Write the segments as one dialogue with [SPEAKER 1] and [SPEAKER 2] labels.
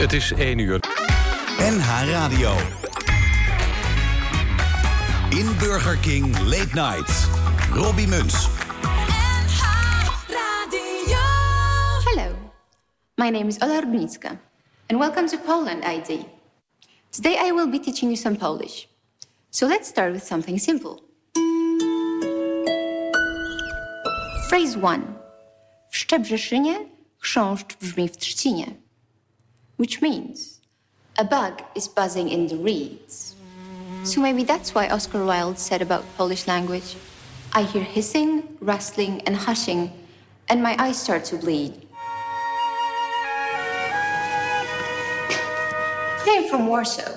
[SPEAKER 1] Het is 1 uur.
[SPEAKER 2] NH Radio. In Burger King Late Night. Robbie Muns.
[SPEAKER 3] Hello, my name is Ola Rudnicka, and welcome to Poland ID. Today I will be teaching you some Polish. So let's start with something simple. Phrase 1. W Szczebrzeszynie chrząszcz brzmi w trzcinie. Which means, a bug is buzzing in the reeds. So maybe that's why Oscar Wilde said about Polish language I hear hissing, rustling, and hushing, and my eyes start to bleed. Came from Warsaw.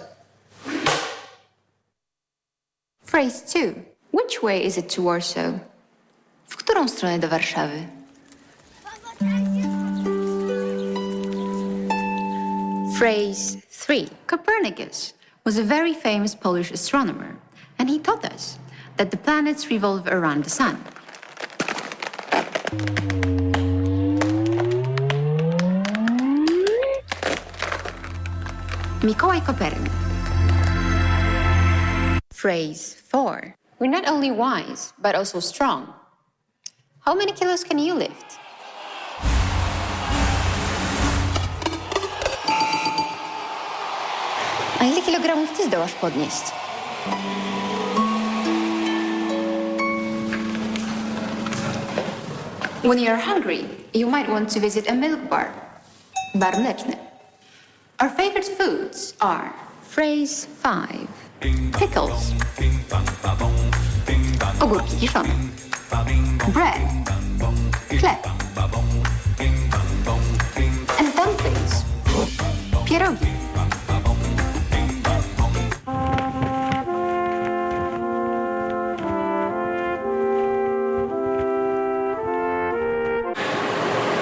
[SPEAKER 3] Phrase 2. Which way is it to Warsaw? W którą stronę do Warszawy? Phrase 3. Copernicus was a very famous Polish astronomer, and he taught us that the planets revolve around the sun. Mikołaj Kopernik. Phrase 4. We're not only wise, but also strong. How many kilos can you lift? A ile kilogramów ty zdołasz podnieść? When you're hungry, you might want to visit a milk bar. Bar mleczny. Our favorite foods are phrase 5. Pickles. Ogórki kiszone. Bread. Chleb. And dumplings. Pierogi.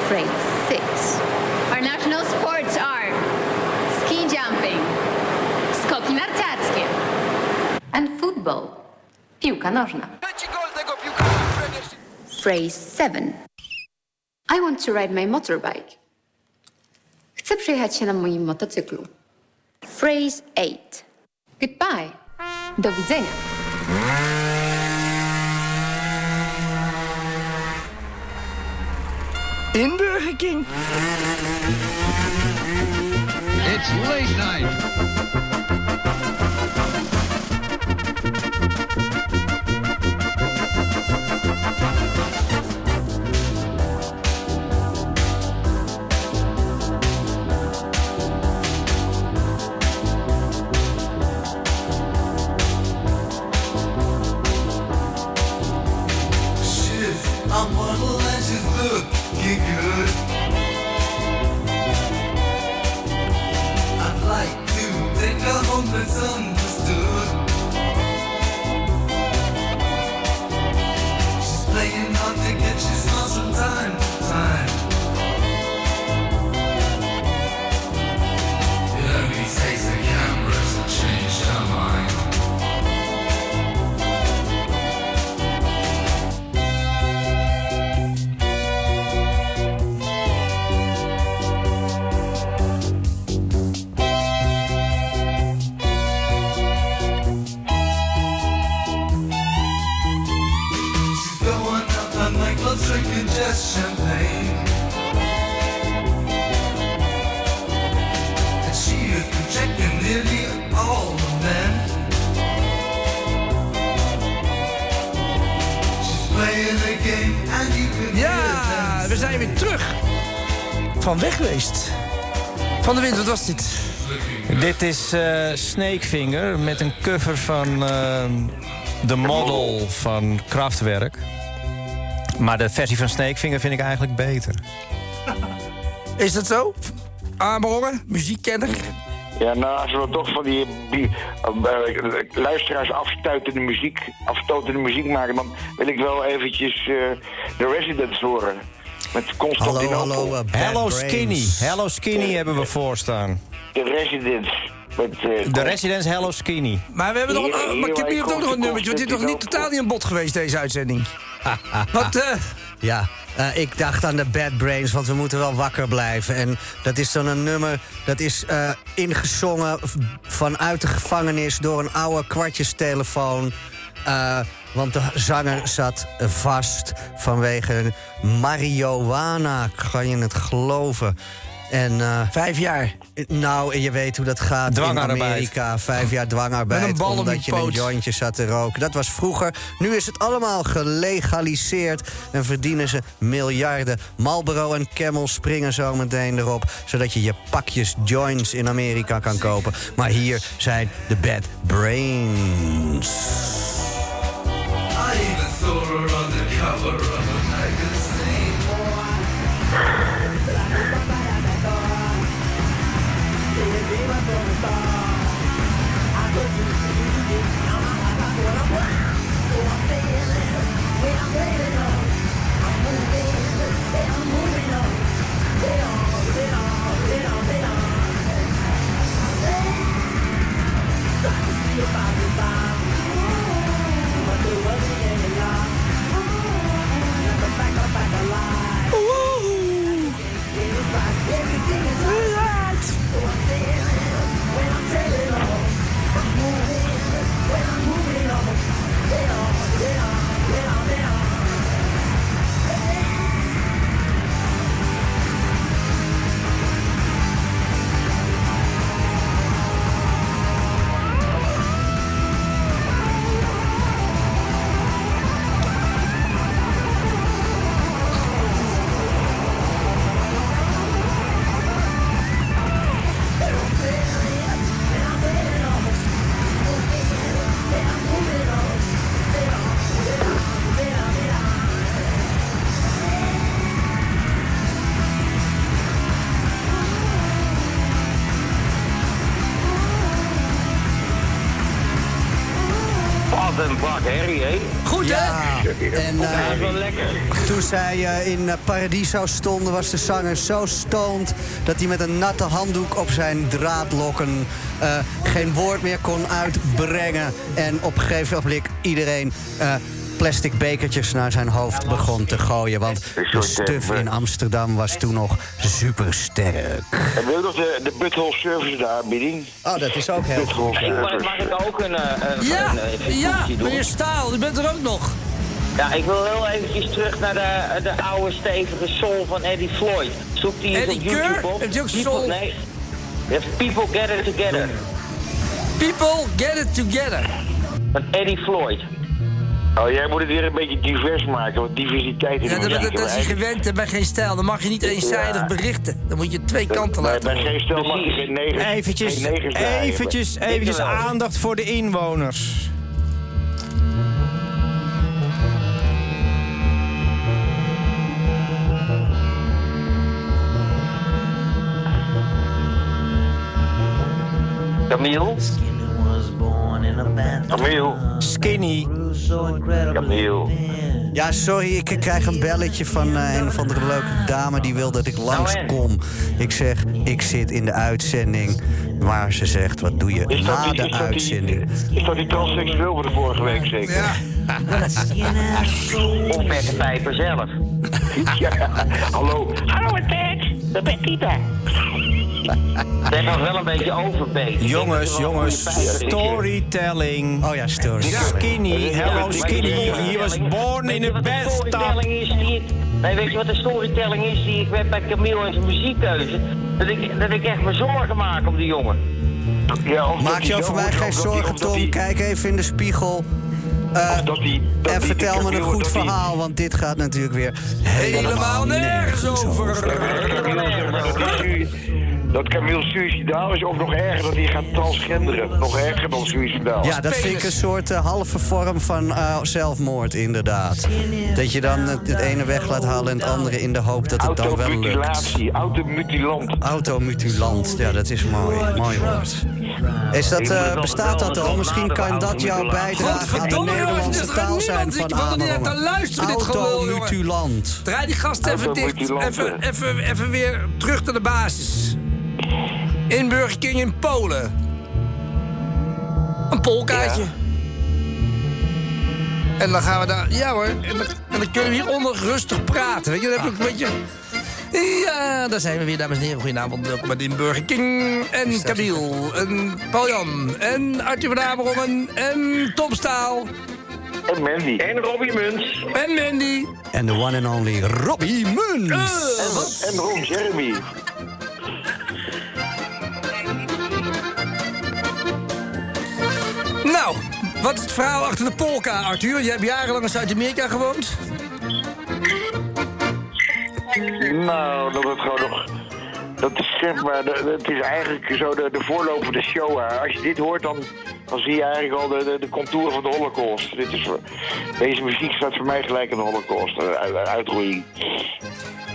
[SPEAKER 3] Phrase 6.
[SPEAKER 4] Our national sports are ski jumping, skoki narciarskie,
[SPEAKER 3] and football. Piłka nożna. Phrase 7. I want to ride my motorbike. Chcę przejechać się na moim motocyklu. Phrase 8. Goodbye. Do widzenia.
[SPEAKER 5] In Burger King.
[SPEAKER 6] It's late night.
[SPEAKER 7] She's a model and she's looking good. I'd like to take her home misunderstood. She's playing hard to get, she's lost from time to time. It only takes the cameras to change her mind. She's going out the nightclub drinking just champagne. And she is projecting nearly all the men. She's playing a game and you can
[SPEAKER 5] Ja,
[SPEAKER 7] hear
[SPEAKER 5] we
[SPEAKER 7] them.
[SPEAKER 5] zijn weer terug. Van weg geweest. Van de wind, wat was dit?
[SPEAKER 8] Dit is eh, Snakefinger met een cover van ehm The Model van Kraftwerk. Maar de versie van Snakefinger vind ik eigenlijk beter.
[SPEAKER 5] Is dat zo? Aanboren, muziekkenner.
[SPEAKER 9] Ja, nou, als we dan toch van die, die, eh, eh, luisteraars afstuitende muziek, afstotende muziek maken, dan wil ik wel eventjes eh, de Residents horen. Met
[SPEAKER 2] Hallo,
[SPEAKER 9] Constantinopel.
[SPEAKER 2] hallo. eh, Bad
[SPEAKER 8] Hello
[SPEAKER 2] Brains.
[SPEAKER 8] Skinny. Hello Skinny hebben we voorstaan.
[SPEAKER 5] eh,
[SPEAKER 9] De Residents. Met, eh,
[SPEAKER 2] Oh.
[SPEAKER 8] De Residence Hello Skinny.
[SPEAKER 5] Maar we hebben nog een,
[SPEAKER 9] Hier-
[SPEAKER 5] maar
[SPEAKER 9] hier
[SPEAKER 5] Camille heeft ook nog een
[SPEAKER 9] komt-
[SPEAKER 5] nummertje. Want dit is nog niet
[SPEAKER 9] komt-
[SPEAKER 5] totaal niet aan bod geweest, deze uitzending. Wat, eh,
[SPEAKER 8] Ja, eh, ik dacht aan de Bad Brains, want we moeten wel wakker blijven. En dat is dan een nummer dat is eh, ingezongen v- vanuit de gevangenis door een oude kwartjestelefoon. Eh, want de zanger zat vast vanwege marihuana, kan je het geloven. En, eh,
[SPEAKER 5] Vijf jaar.
[SPEAKER 8] nou, je weet hoe dat gaat in
[SPEAKER 10] Dwangarbeid.
[SPEAKER 8] Amerika. Vijf jaar dwangarbeid
[SPEAKER 5] Met een bal op
[SPEAKER 8] omdat
[SPEAKER 5] je
[SPEAKER 8] je een
[SPEAKER 5] poot.
[SPEAKER 8] jointje zat te roken. Dat was vroeger. Nu is het allemaal gelegaliseerd en verdienen ze miljarden. Marlboro en Camel springen zo meteen erop... zodat je je pakjes joints in Amerika kan kopen. Maar hier zijn de bad brains.
[SPEAKER 1] I even saw her on the cover of a magazine.
[SPEAKER 9] Wat een bak herrie, hè?
[SPEAKER 5] Goed, hè?
[SPEAKER 8] Ja, en
[SPEAKER 9] Dat is
[SPEAKER 8] eh,
[SPEAKER 9] wel lekker.
[SPEAKER 8] Toen zij eh, in eh, Paradiso stonden, was de zanger zo stoned dat hij met een natte handdoek op zijn draadlokken eh, geen woord meer kon uitbrengen. En op een gegeven ogenblik iedereen eh, plastic bekertjes naar zijn hoofd begon te gooien. Want de stuf in Amsterdam was toen nog supersterk.
[SPEAKER 9] En wil je nog de, de Butthole Service de aanbieding?
[SPEAKER 8] Oh, dat is ook heel goed.
[SPEAKER 9] Butthole Service.
[SPEAKER 11] Mag ik ook een, eh, een,
[SPEAKER 5] Ja,
[SPEAKER 11] een, eh, even
[SPEAKER 5] ja,
[SPEAKER 11] conclusie doen?
[SPEAKER 5] meneer Staal, u bent er ook nog.
[SPEAKER 11] Ja, ik wil heel eventjes terug naar de, de oude stevige soul van Eddie Floyd. Zoek die eens
[SPEAKER 5] Eddie
[SPEAKER 11] op YouTube
[SPEAKER 5] Keur?
[SPEAKER 11] op.
[SPEAKER 5] Heeft die ook
[SPEAKER 11] People-
[SPEAKER 5] soul?
[SPEAKER 11] Nee. Je hebt People Get It Together
[SPEAKER 5] People, get it together.
[SPEAKER 11] van Eddie Floyd.
[SPEAKER 9] Oh, jij moet het weer een beetje divers maken, want diversiteit in
[SPEAKER 5] Ja,
[SPEAKER 9] de
[SPEAKER 5] dat,
[SPEAKER 9] muziek.
[SPEAKER 5] dat, dat is hij gewend hè, bij geen stijl. Dan mag je niet eenzijdig berichten. Dan moet je twee kanten
[SPEAKER 9] Bij,
[SPEAKER 5] laten
[SPEAKER 9] bij geen stel mag je geen negers
[SPEAKER 10] Eventjes,
[SPEAKER 9] geen negers draaien.
[SPEAKER 10] eventjes, eventjes
[SPEAKER 11] wel.
[SPEAKER 10] aandacht voor de inwoners.
[SPEAKER 11] Camille?
[SPEAKER 9] Camille,
[SPEAKER 10] Skinny.
[SPEAKER 9] Camille.
[SPEAKER 8] Ja, sorry, ik krijg een belletje van eh, een of andere leuke dame die wil dat ik langskom. Ik zeg, ik zit in de uitzending. Maar ze zegt, wat doe je
[SPEAKER 9] Is dat,
[SPEAKER 8] na
[SPEAKER 9] die,
[SPEAKER 8] de
[SPEAKER 9] is, dat die,
[SPEAKER 8] uitzending?
[SPEAKER 9] is dat die transseksueel van de vorige week zeker? Ja,
[SPEAKER 11] Of Bert de Pijper zelf.
[SPEAKER 9] hallo.
[SPEAKER 11] Hallo Bert, dat ben Tita. Zeg nog wel een beetje overbeet.
[SPEAKER 10] Jongens, jongens. Storytelling.
[SPEAKER 8] Oh ja, story.
[SPEAKER 10] Skinny, hello skinny. He
[SPEAKER 11] Hier
[SPEAKER 10] was born in a bathtub.
[SPEAKER 11] Storytelling is die ik, nee, weet je wat de storytelling is die ik werd bij Camille en zijn muziekkeuze? Dat ik, dat ik echt me zorgen maak om die jongen.
[SPEAKER 9] Ja, of
[SPEAKER 8] Maak
[SPEAKER 9] dat
[SPEAKER 8] je
[SPEAKER 9] die
[SPEAKER 8] over
[SPEAKER 9] zo
[SPEAKER 8] mij
[SPEAKER 9] goed-
[SPEAKER 8] geen
[SPEAKER 9] of dat die-
[SPEAKER 8] zorgen,
[SPEAKER 9] of dat
[SPEAKER 8] Tom.
[SPEAKER 9] die-
[SPEAKER 8] Kijk even in de spiegel.
[SPEAKER 9] of dat die- dat
[SPEAKER 8] En
[SPEAKER 9] die-
[SPEAKER 8] vertel me een
[SPEAKER 9] Camille-
[SPEAKER 8] goed
[SPEAKER 9] dat die-
[SPEAKER 8] verhaal, want dit gaat natuurlijk weer helemaal
[SPEAKER 5] Helemaal nergens over.
[SPEAKER 9] Camille zegt maar dat hij sui- Dat Camille suicidaal is, of nog erger, dat hij gaat transgenderen. Nog erger dan suicidaal.
[SPEAKER 8] Ja, dat vind ik een soort eh, halve vorm van eh, zelfmoord, inderdaad. Dat je dan het, het ene weg laat halen en het andere in de hoop dat het dan wel lukt.
[SPEAKER 9] Automutilatie, automutilant.
[SPEAKER 8] Automutilant, ja, dat is mooi. Mooi woord. Is dat, eh, bestaat dat al? Misschien kan dat jouw bijdrage aan de
[SPEAKER 5] Godverdomme, jongens,
[SPEAKER 8] Nederlandse
[SPEAKER 5] dit gaat
[SPEAKER 8] taal zijn
[SPEAKER 5] niemand.
[SPEAKER 8] van
[SPEAKER 5] Ik wil er niet
[SPEAKER 8] Amerongen.
[SPEAKER 5] aan luisteren, dit gelul, jongen.
[SPEAKER 8] Automutilant.
[SPEAKER 5] Draai die gast even
[SPEAKER 9] Auto Nou, moet
[SPEAKER 5] dicht.
[SPEAKER 9] die lampen.
[SPEAKER 5] Even, even, even weer terug naar de basis. In Burger King in Polen. Een polkaatje. En dan gaan we daar. Ja hoor. En dan, en dan kunnen we hieronder rustig praten. Weet je, dan heb je ook een beetje. Ja, daar zijn we weer, dames en heren. Goedenavond, welkom bij de Burger King. En Kabiel. En Paul-Jan. En Arthur van Amerongen. En Tom Staal.
[SPEAKER 9] En Mandy.
[SPEAKER 11] En Robbie Muns.
[SPEAKER 5] En Mandy. Eh.
[SPEAKER 1] En de one and only Robbie Muns.
[SPEAKER 9] En, en Ron Jeremy.
[SPEAKER 5] Nou, wat is het verhaal achter de polka, Arthur? Je hebt jarenlang in Zuid-Amerika gewoond.
[SPEAKER 9] Nou, dat het gewoon nog... Dat is zeg maar, de- het is eigenlijk zo de, de voorloper de Shoah. Als je dit hoort, dan, dan zie je eigenlijk al de, de, de contouren van de holocaust. Dit is, voor- deze muziek staat voor mij gelijk aan de holocaust, eh, uit- uitroeiing.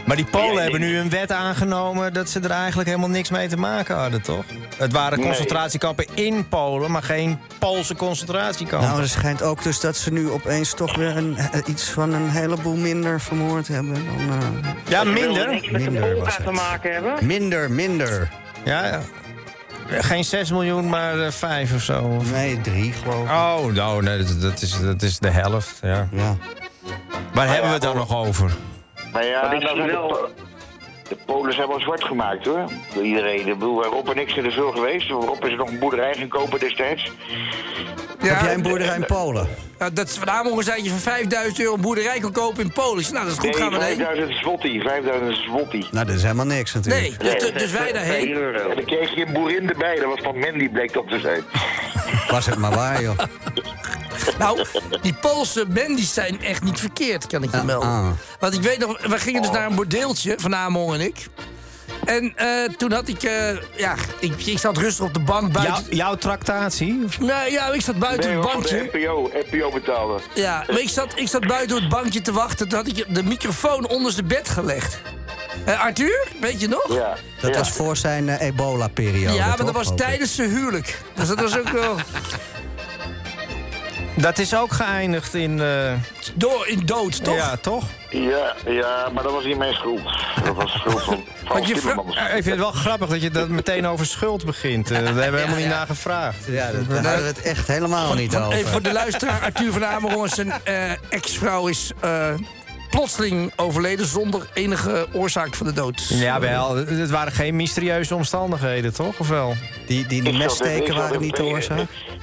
[SPEAKER 8] Maar die Polen hebben nu een wet aangenomen dat ze er eigenlijk helemaal niks mee te maken hadden, toch? Het waren
[SPEAKER 9] Nee.
[SPEAKER 8] concentratiekampen in Polen, maar geen Poolse concentratiekampen.
[SPEAKER 1] Nou, er schijnt ook dus dat ze nu opeens toch weer een, eh, iets van een heleboel minder vermoord hebben. Dan, eh,
[SPEAKER 8] ja,
[SPEAKER 11] Wil
[SPEAKER 8] minder.
[SPEAKER 11] niks met de
[SPEAKER 1] Minder
[SPEAKER 11] polka
[SPEAKER 1] was het.
[SPEAKER 11] te maken hebben.
[SPEAKER 1] Minder, minder.
[SPEAKER 8] Ja, ja. Geen 6 miljoen, maar eh, 5 of zo. Of-
[SPEAKER 1] Nee, drie geloof ik.
[SPEAKER 8] Oh, nou, nee, dat, dat is, dat is de helft. Ja.
[SPEAKER 1] Ja.
[SPEAKER 8] Waar hebben we het
[SPEAKER 11] oh.
[SPEAKER 8] dan nog over?
[SPEAKER 9] Maar ja,
[SPEAKER 11] Maar ik
[SPEAKER 9] nou
[SPEAKER 11] zie
[SPEAKER 9] zijn de,
[SPEAKER 11] wel-
[SPEAKER 9] Po- de Polen zijn wel zwart gemaakt hoor. Door iedereen. Ik bedoel, eh, Rob en ik zijn er veel geweest. Rob is nog een boerderij gaan kopen destijds.
[SPEAKER 1] Heb jij een boerderij in Polen?
[SPEAKER 5] Nou, dat is van Amerongen zei dat je voor 5000 euro een boerderij kan kopen in Polen. Ik zei, Nou, dat is goed, gaan we daarheen.
[SPEAKER 9] 5000 zwotti. 5000 zwotti.
[SPEAKER 1] Nou, dat is helemaal niks natuurlijk.
[SPEAKER 5] Nee, dus, dus- dus wij daarheen.
[SPEAKER 9] En dan kreeg je een boerin erbij. Dat was van Mandy, bleek dat te zijn.
[SPEAKER 1] Was het maar waar, joh.
[SPEAKER 5] Nou, die Poolse bandies zijn echt niet verkeerd, kan ik je
[SPEAKER 1] Ah,
[SPEAKER 5] melden.
[SPEAKER 1] ah.
[SPEAKER 5] Want ik weet nog, we gingen dus naar een bordeeltje, Van Amon en ik. En eh, toen had ik, eh, ja, ik, ik zat rustig op de bank
[SPEAKER 8] Jou,
[SPEAKER 5] buiten.
[SPEAKER 8] jouw tractatie?
[SPEAKER 5] Nou ja, ik zat buiten
[SPEAKER 9] Nee,
[SPEAKER 5] het
[SPEAKER 9] hoor, de
[SPEAKER 5] bankje.
[SPEAKER 9] NPO, NPO betaalde.
[SPEAKER 5] Ja, maar ik zat, ik zat buiten op het bankje te wachten. Toen had ik de microfoon onder zijn bed gelegd. Eh, Arthur, weet je nog?
[SPEAKER 9] Ja.
[SPEAKER 1] Dat
[SPEAKER 9] ja.
[SPEAKER 1] was voor zijn eh, ebola-periode.
[SPEAKER 5] Ja, maar
[SPEAKER 1] toch,
[SPEAKER 5] dat was
[SPEAKER 1] hoop ik?
[SPEAKER 5] tijdens zijn huwelijk. Dus dat was ook wel
[SPEAKER 8] Dat is ook geëindigd in... eh,
[SPEAKER 5] door in dood, toch?
[SPEAKER 8] Ja, toch?
[SPEAKER 9] Ja, ja, maar dat was niet mijn schuld. Dat was de schuld van
[SPEAKER 5] Want
[SPEAKER 9] Frans
[SPEAKER 5] je vrouw-
[SPEAKER 9] Timmermans.
[SPEAKER 1] eh,
[SPEAKER 8] Ik vind het wel grappig dat je dat meteen over schuld begint. Eh, Daar hebben we helemaal niet naar gevraagd.
[SPEAKER 1] Ja, dat- daar hadden we het echt helemaal niet
[SPEAKER 5] Even voor
[SPEAKER 1] over.
[SPEAKER 5] de luisteraar, Arthur van Amerongen, zijn eh, ex-vrouw is eh, plotseling overleden zonder enige oorzaak van de dood.
[SPEAKER 8] Ja, wel. Het waren geen mysterieuze omstandigheden, toch? Of wel?
[SPEAKER 1] Die, die, die
[SPEAKER 9] Ik zat in- ik
[SPEAKER 1] messteken
[SPEAKER 9] zat
[SPEAKER 1] waren
[SPEAKER 9] in-
[SPEAKER 1] niet de oorzaak.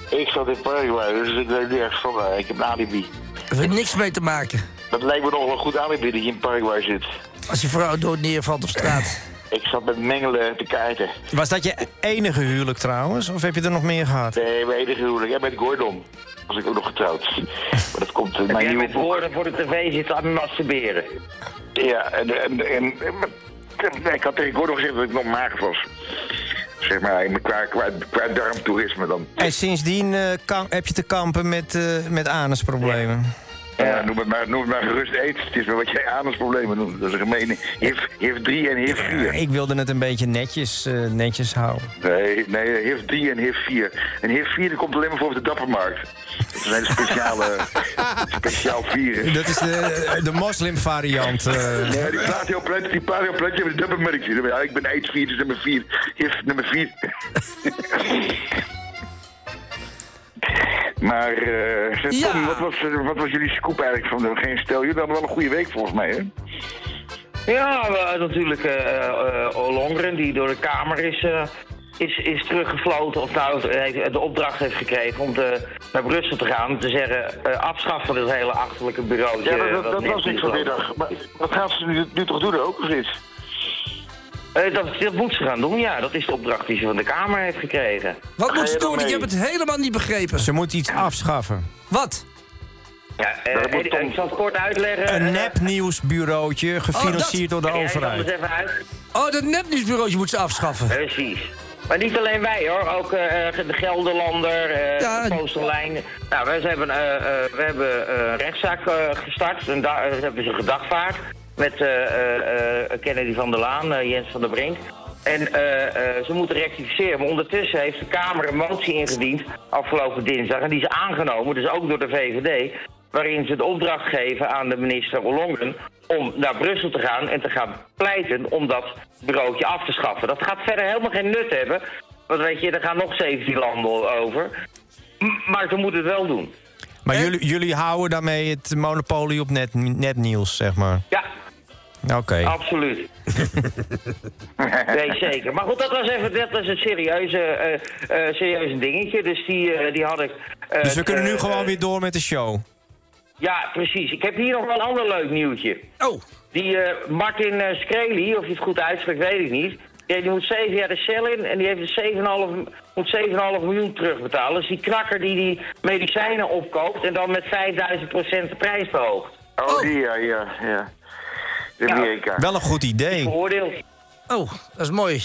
[SPEAKER 9] Ik zat in Paraguay, dus ik weet niet echt van waar. Ik heb een alibi.
[SPEAKER 5] Er heeft niks mee te maken
[SPEAKER 9] Dat lijkt me nog wel een goed alibi dat je in Paraguay zit.
[SPEAKER 5] als je vrouw dood neervalt op straat.
[SPEAKER 9] Ik zat met mengelen te kaarten.
[SPEAKER 8] Was dat je enige huwelijk trouwens? Of heb je er nog meer gehad?
[SPEAKER 9] Nee, mijn enige huwelijk. En met Gordon was ik ook nog getrouwd. Maar dat komt in mijn
[SPEAKER 11] Jij
[SPEAKER 9] nieuwe
[SPEAKER 11] met
[SPEAKER 9] boek.
[SPEAKER 11] woorden voor de tv zitten aan het masturberen.
[SPEAKER 9] Ja, en, en, en, en- ik had tegen Gordon gezegd dat ik nog mager was. Zeg maar, in- qua, qua, qua darmtoerisme dan.
[SPEAKER 8] En sindsdien eh, kam- heb je te kampen met, eh, met anusproblemen.
[SPEAKER 9] Ja, Nou, noem, het maar, noem het maar gerust aids. Het is maar wat jij anusproblemen noemt. Dat is een gemene HIV, HIV 3 en HIV 4.
[SPEAKER 8] Ik wilde het een beetje netjes, eh, netjes houden.
[SPEAKER 9] Nee, nee, HIV 3 en HIV 4. En HIV 4 die komt alleen maar voor op de dappermarkt. Dat is een hele speciale, speciaal virus.
[SPEAKER 8] Dat is de, de moslimvariant. eh.
[SPEAKER 9] Ja, die plaatioplantje, die plaatioplantje hebben de dappermarkt. Ja, ik ben aids 4, dus nummer 4. HIV nummer 4. Maar, eh zeg,
[SPEAKER 5] Ja.
[SPEAKER 9] Tommy, wat was, eh, wat was jullie scoop eigenlijk van de Geen Stel? Jullie hadden wel een goede week volgens mij, hè?
[SPEAKER 11] Ja, we- natuurlijk eh eh, Ollongren, die door de Kamer is, eh, is, is teruggefloten. Of nou heeft- de opdracht heeft gekregen om te, naar Brussel te gaan. Om te zeggen, eh afschaffen van dit hele achterlijke eh, bureau.
[SPEAKER 9] Ja, dat, dat, dat was ik vanmiddag. Maar wat gaan ze nu, nu toch doen ook, of niet?
[SPEAKER 11] Eh, dat, dat moet ze gaan doen, ja. Dat is de opdracht die ze van de Kamer heeft gekregen.
[SPEAKER 5] Wat moet ze
[SPEAKER 9] je
[SPEAKER 5] doen?
[SPEAKER 9] dan
[SPEAKER 5] Ik
[SPEAKER 9] mee?
[SPEAKER 5] heb het helemaal niet begrepen.
[SPEAKER 8] Ze moet iets afschaffen.
[SPEAKER 5] Wat?
[SPEAKER 11] Ja, eh,
[SPEAKER 9] dat moet
[SPEAKER 11] Edi-
[SPEAKER 9] Tom-
[SPEAKER 11] ik zal het kort uitleggen.
[SPEAKER 8] Een
[SPEAKER 11] Eh,
[SPEAKER 8] nepnieuwsbureautje,
[SPEAKER 11] Oh,
[SPEAKER 8] gefinancierd door de
[SPEAKER 11] Edi, hij zal het
[SPEAKER 8] overheid.
[SPEAKER 11] eens even uit.
[SPEAKER 5] Oh, dat nepnieuwsbureautje moet ze afschaffen.
[SPEAKER 11] Precies. Maar niet alleen wij hoor, ook eh, de Gelderlander, eh
[SPEAKER 5] Ja,
[SPEAKER 11] de
[SPEAKER 5] en-
[SPEAKER 11] Postelijn. Nou, wij hebben, eh, eh, we hebben eh, een rechtszaak eh, gestart, een da- eh, hebben ze gedagvaard met eh, eh, eh, Kennedy van der Laan, eh, Jens van der Brink. En eh, eh, ze moeten rectificeren. Maar ondertussen heeft de Kamer een motie ingediend afgelopen dinsdag. En die is aangenomen, dus ook door de VVD. Waarin ze de opdracht geven aan de minister Ollongren om naar Brussel te gaan en te gaan pleiten om dat bureautje af te schaffen. Dat gaat verder helemaal geen nut hebben. Want weet je, er gaan nog 17 landen over. M- Maar ze moeten het wel doen.
[SPEAKER 8] Maar jullie, jullie houden daarmee het monopolie op net, net nieuws, zeg maar.
[SPEAKER 11] Ja.
[SPEAKER 8] Oké.
[SPEAKER 11] Oh, Absoluut. Nee, zeker. Maar goed, dat was even dat was een serieuze, eh, eh, serieuze dingetje. Dus die, eh, die had ik... eh,
[SPEAKER 8] dus we kunnen nu
[SPEAKER 11] eh,
[SPEAKER 8] gewoon weer door met de show.
[SPEAKER 11] Ja, precies. Ik heb hier nog wel een ander leuk nieuwtje.
[SPEAKER 5] Oh.
[SPEAKER 11] Die eh, Martin eh, Screli, of je het goed uitspreekt, weet ik niet. Die, die moet zeven jaar de cel in en die heeft een 7,5 moet 7,5 miljoen terugbetalen. Dus die knakker die die medicijnen opkoopt en dan met 5000 de prijs verhoogt.
[SPEAKER 9] Oh, die, ja, ja, ja. In
[SPEAKER 11] Ja.
[SPEAKER 9] Amerika.
[SPEAKER 8] Wel een goed idee.
[SPEAKER 11] Veroordeeld.
[SPEAKER 5] Oh, dat is mooi.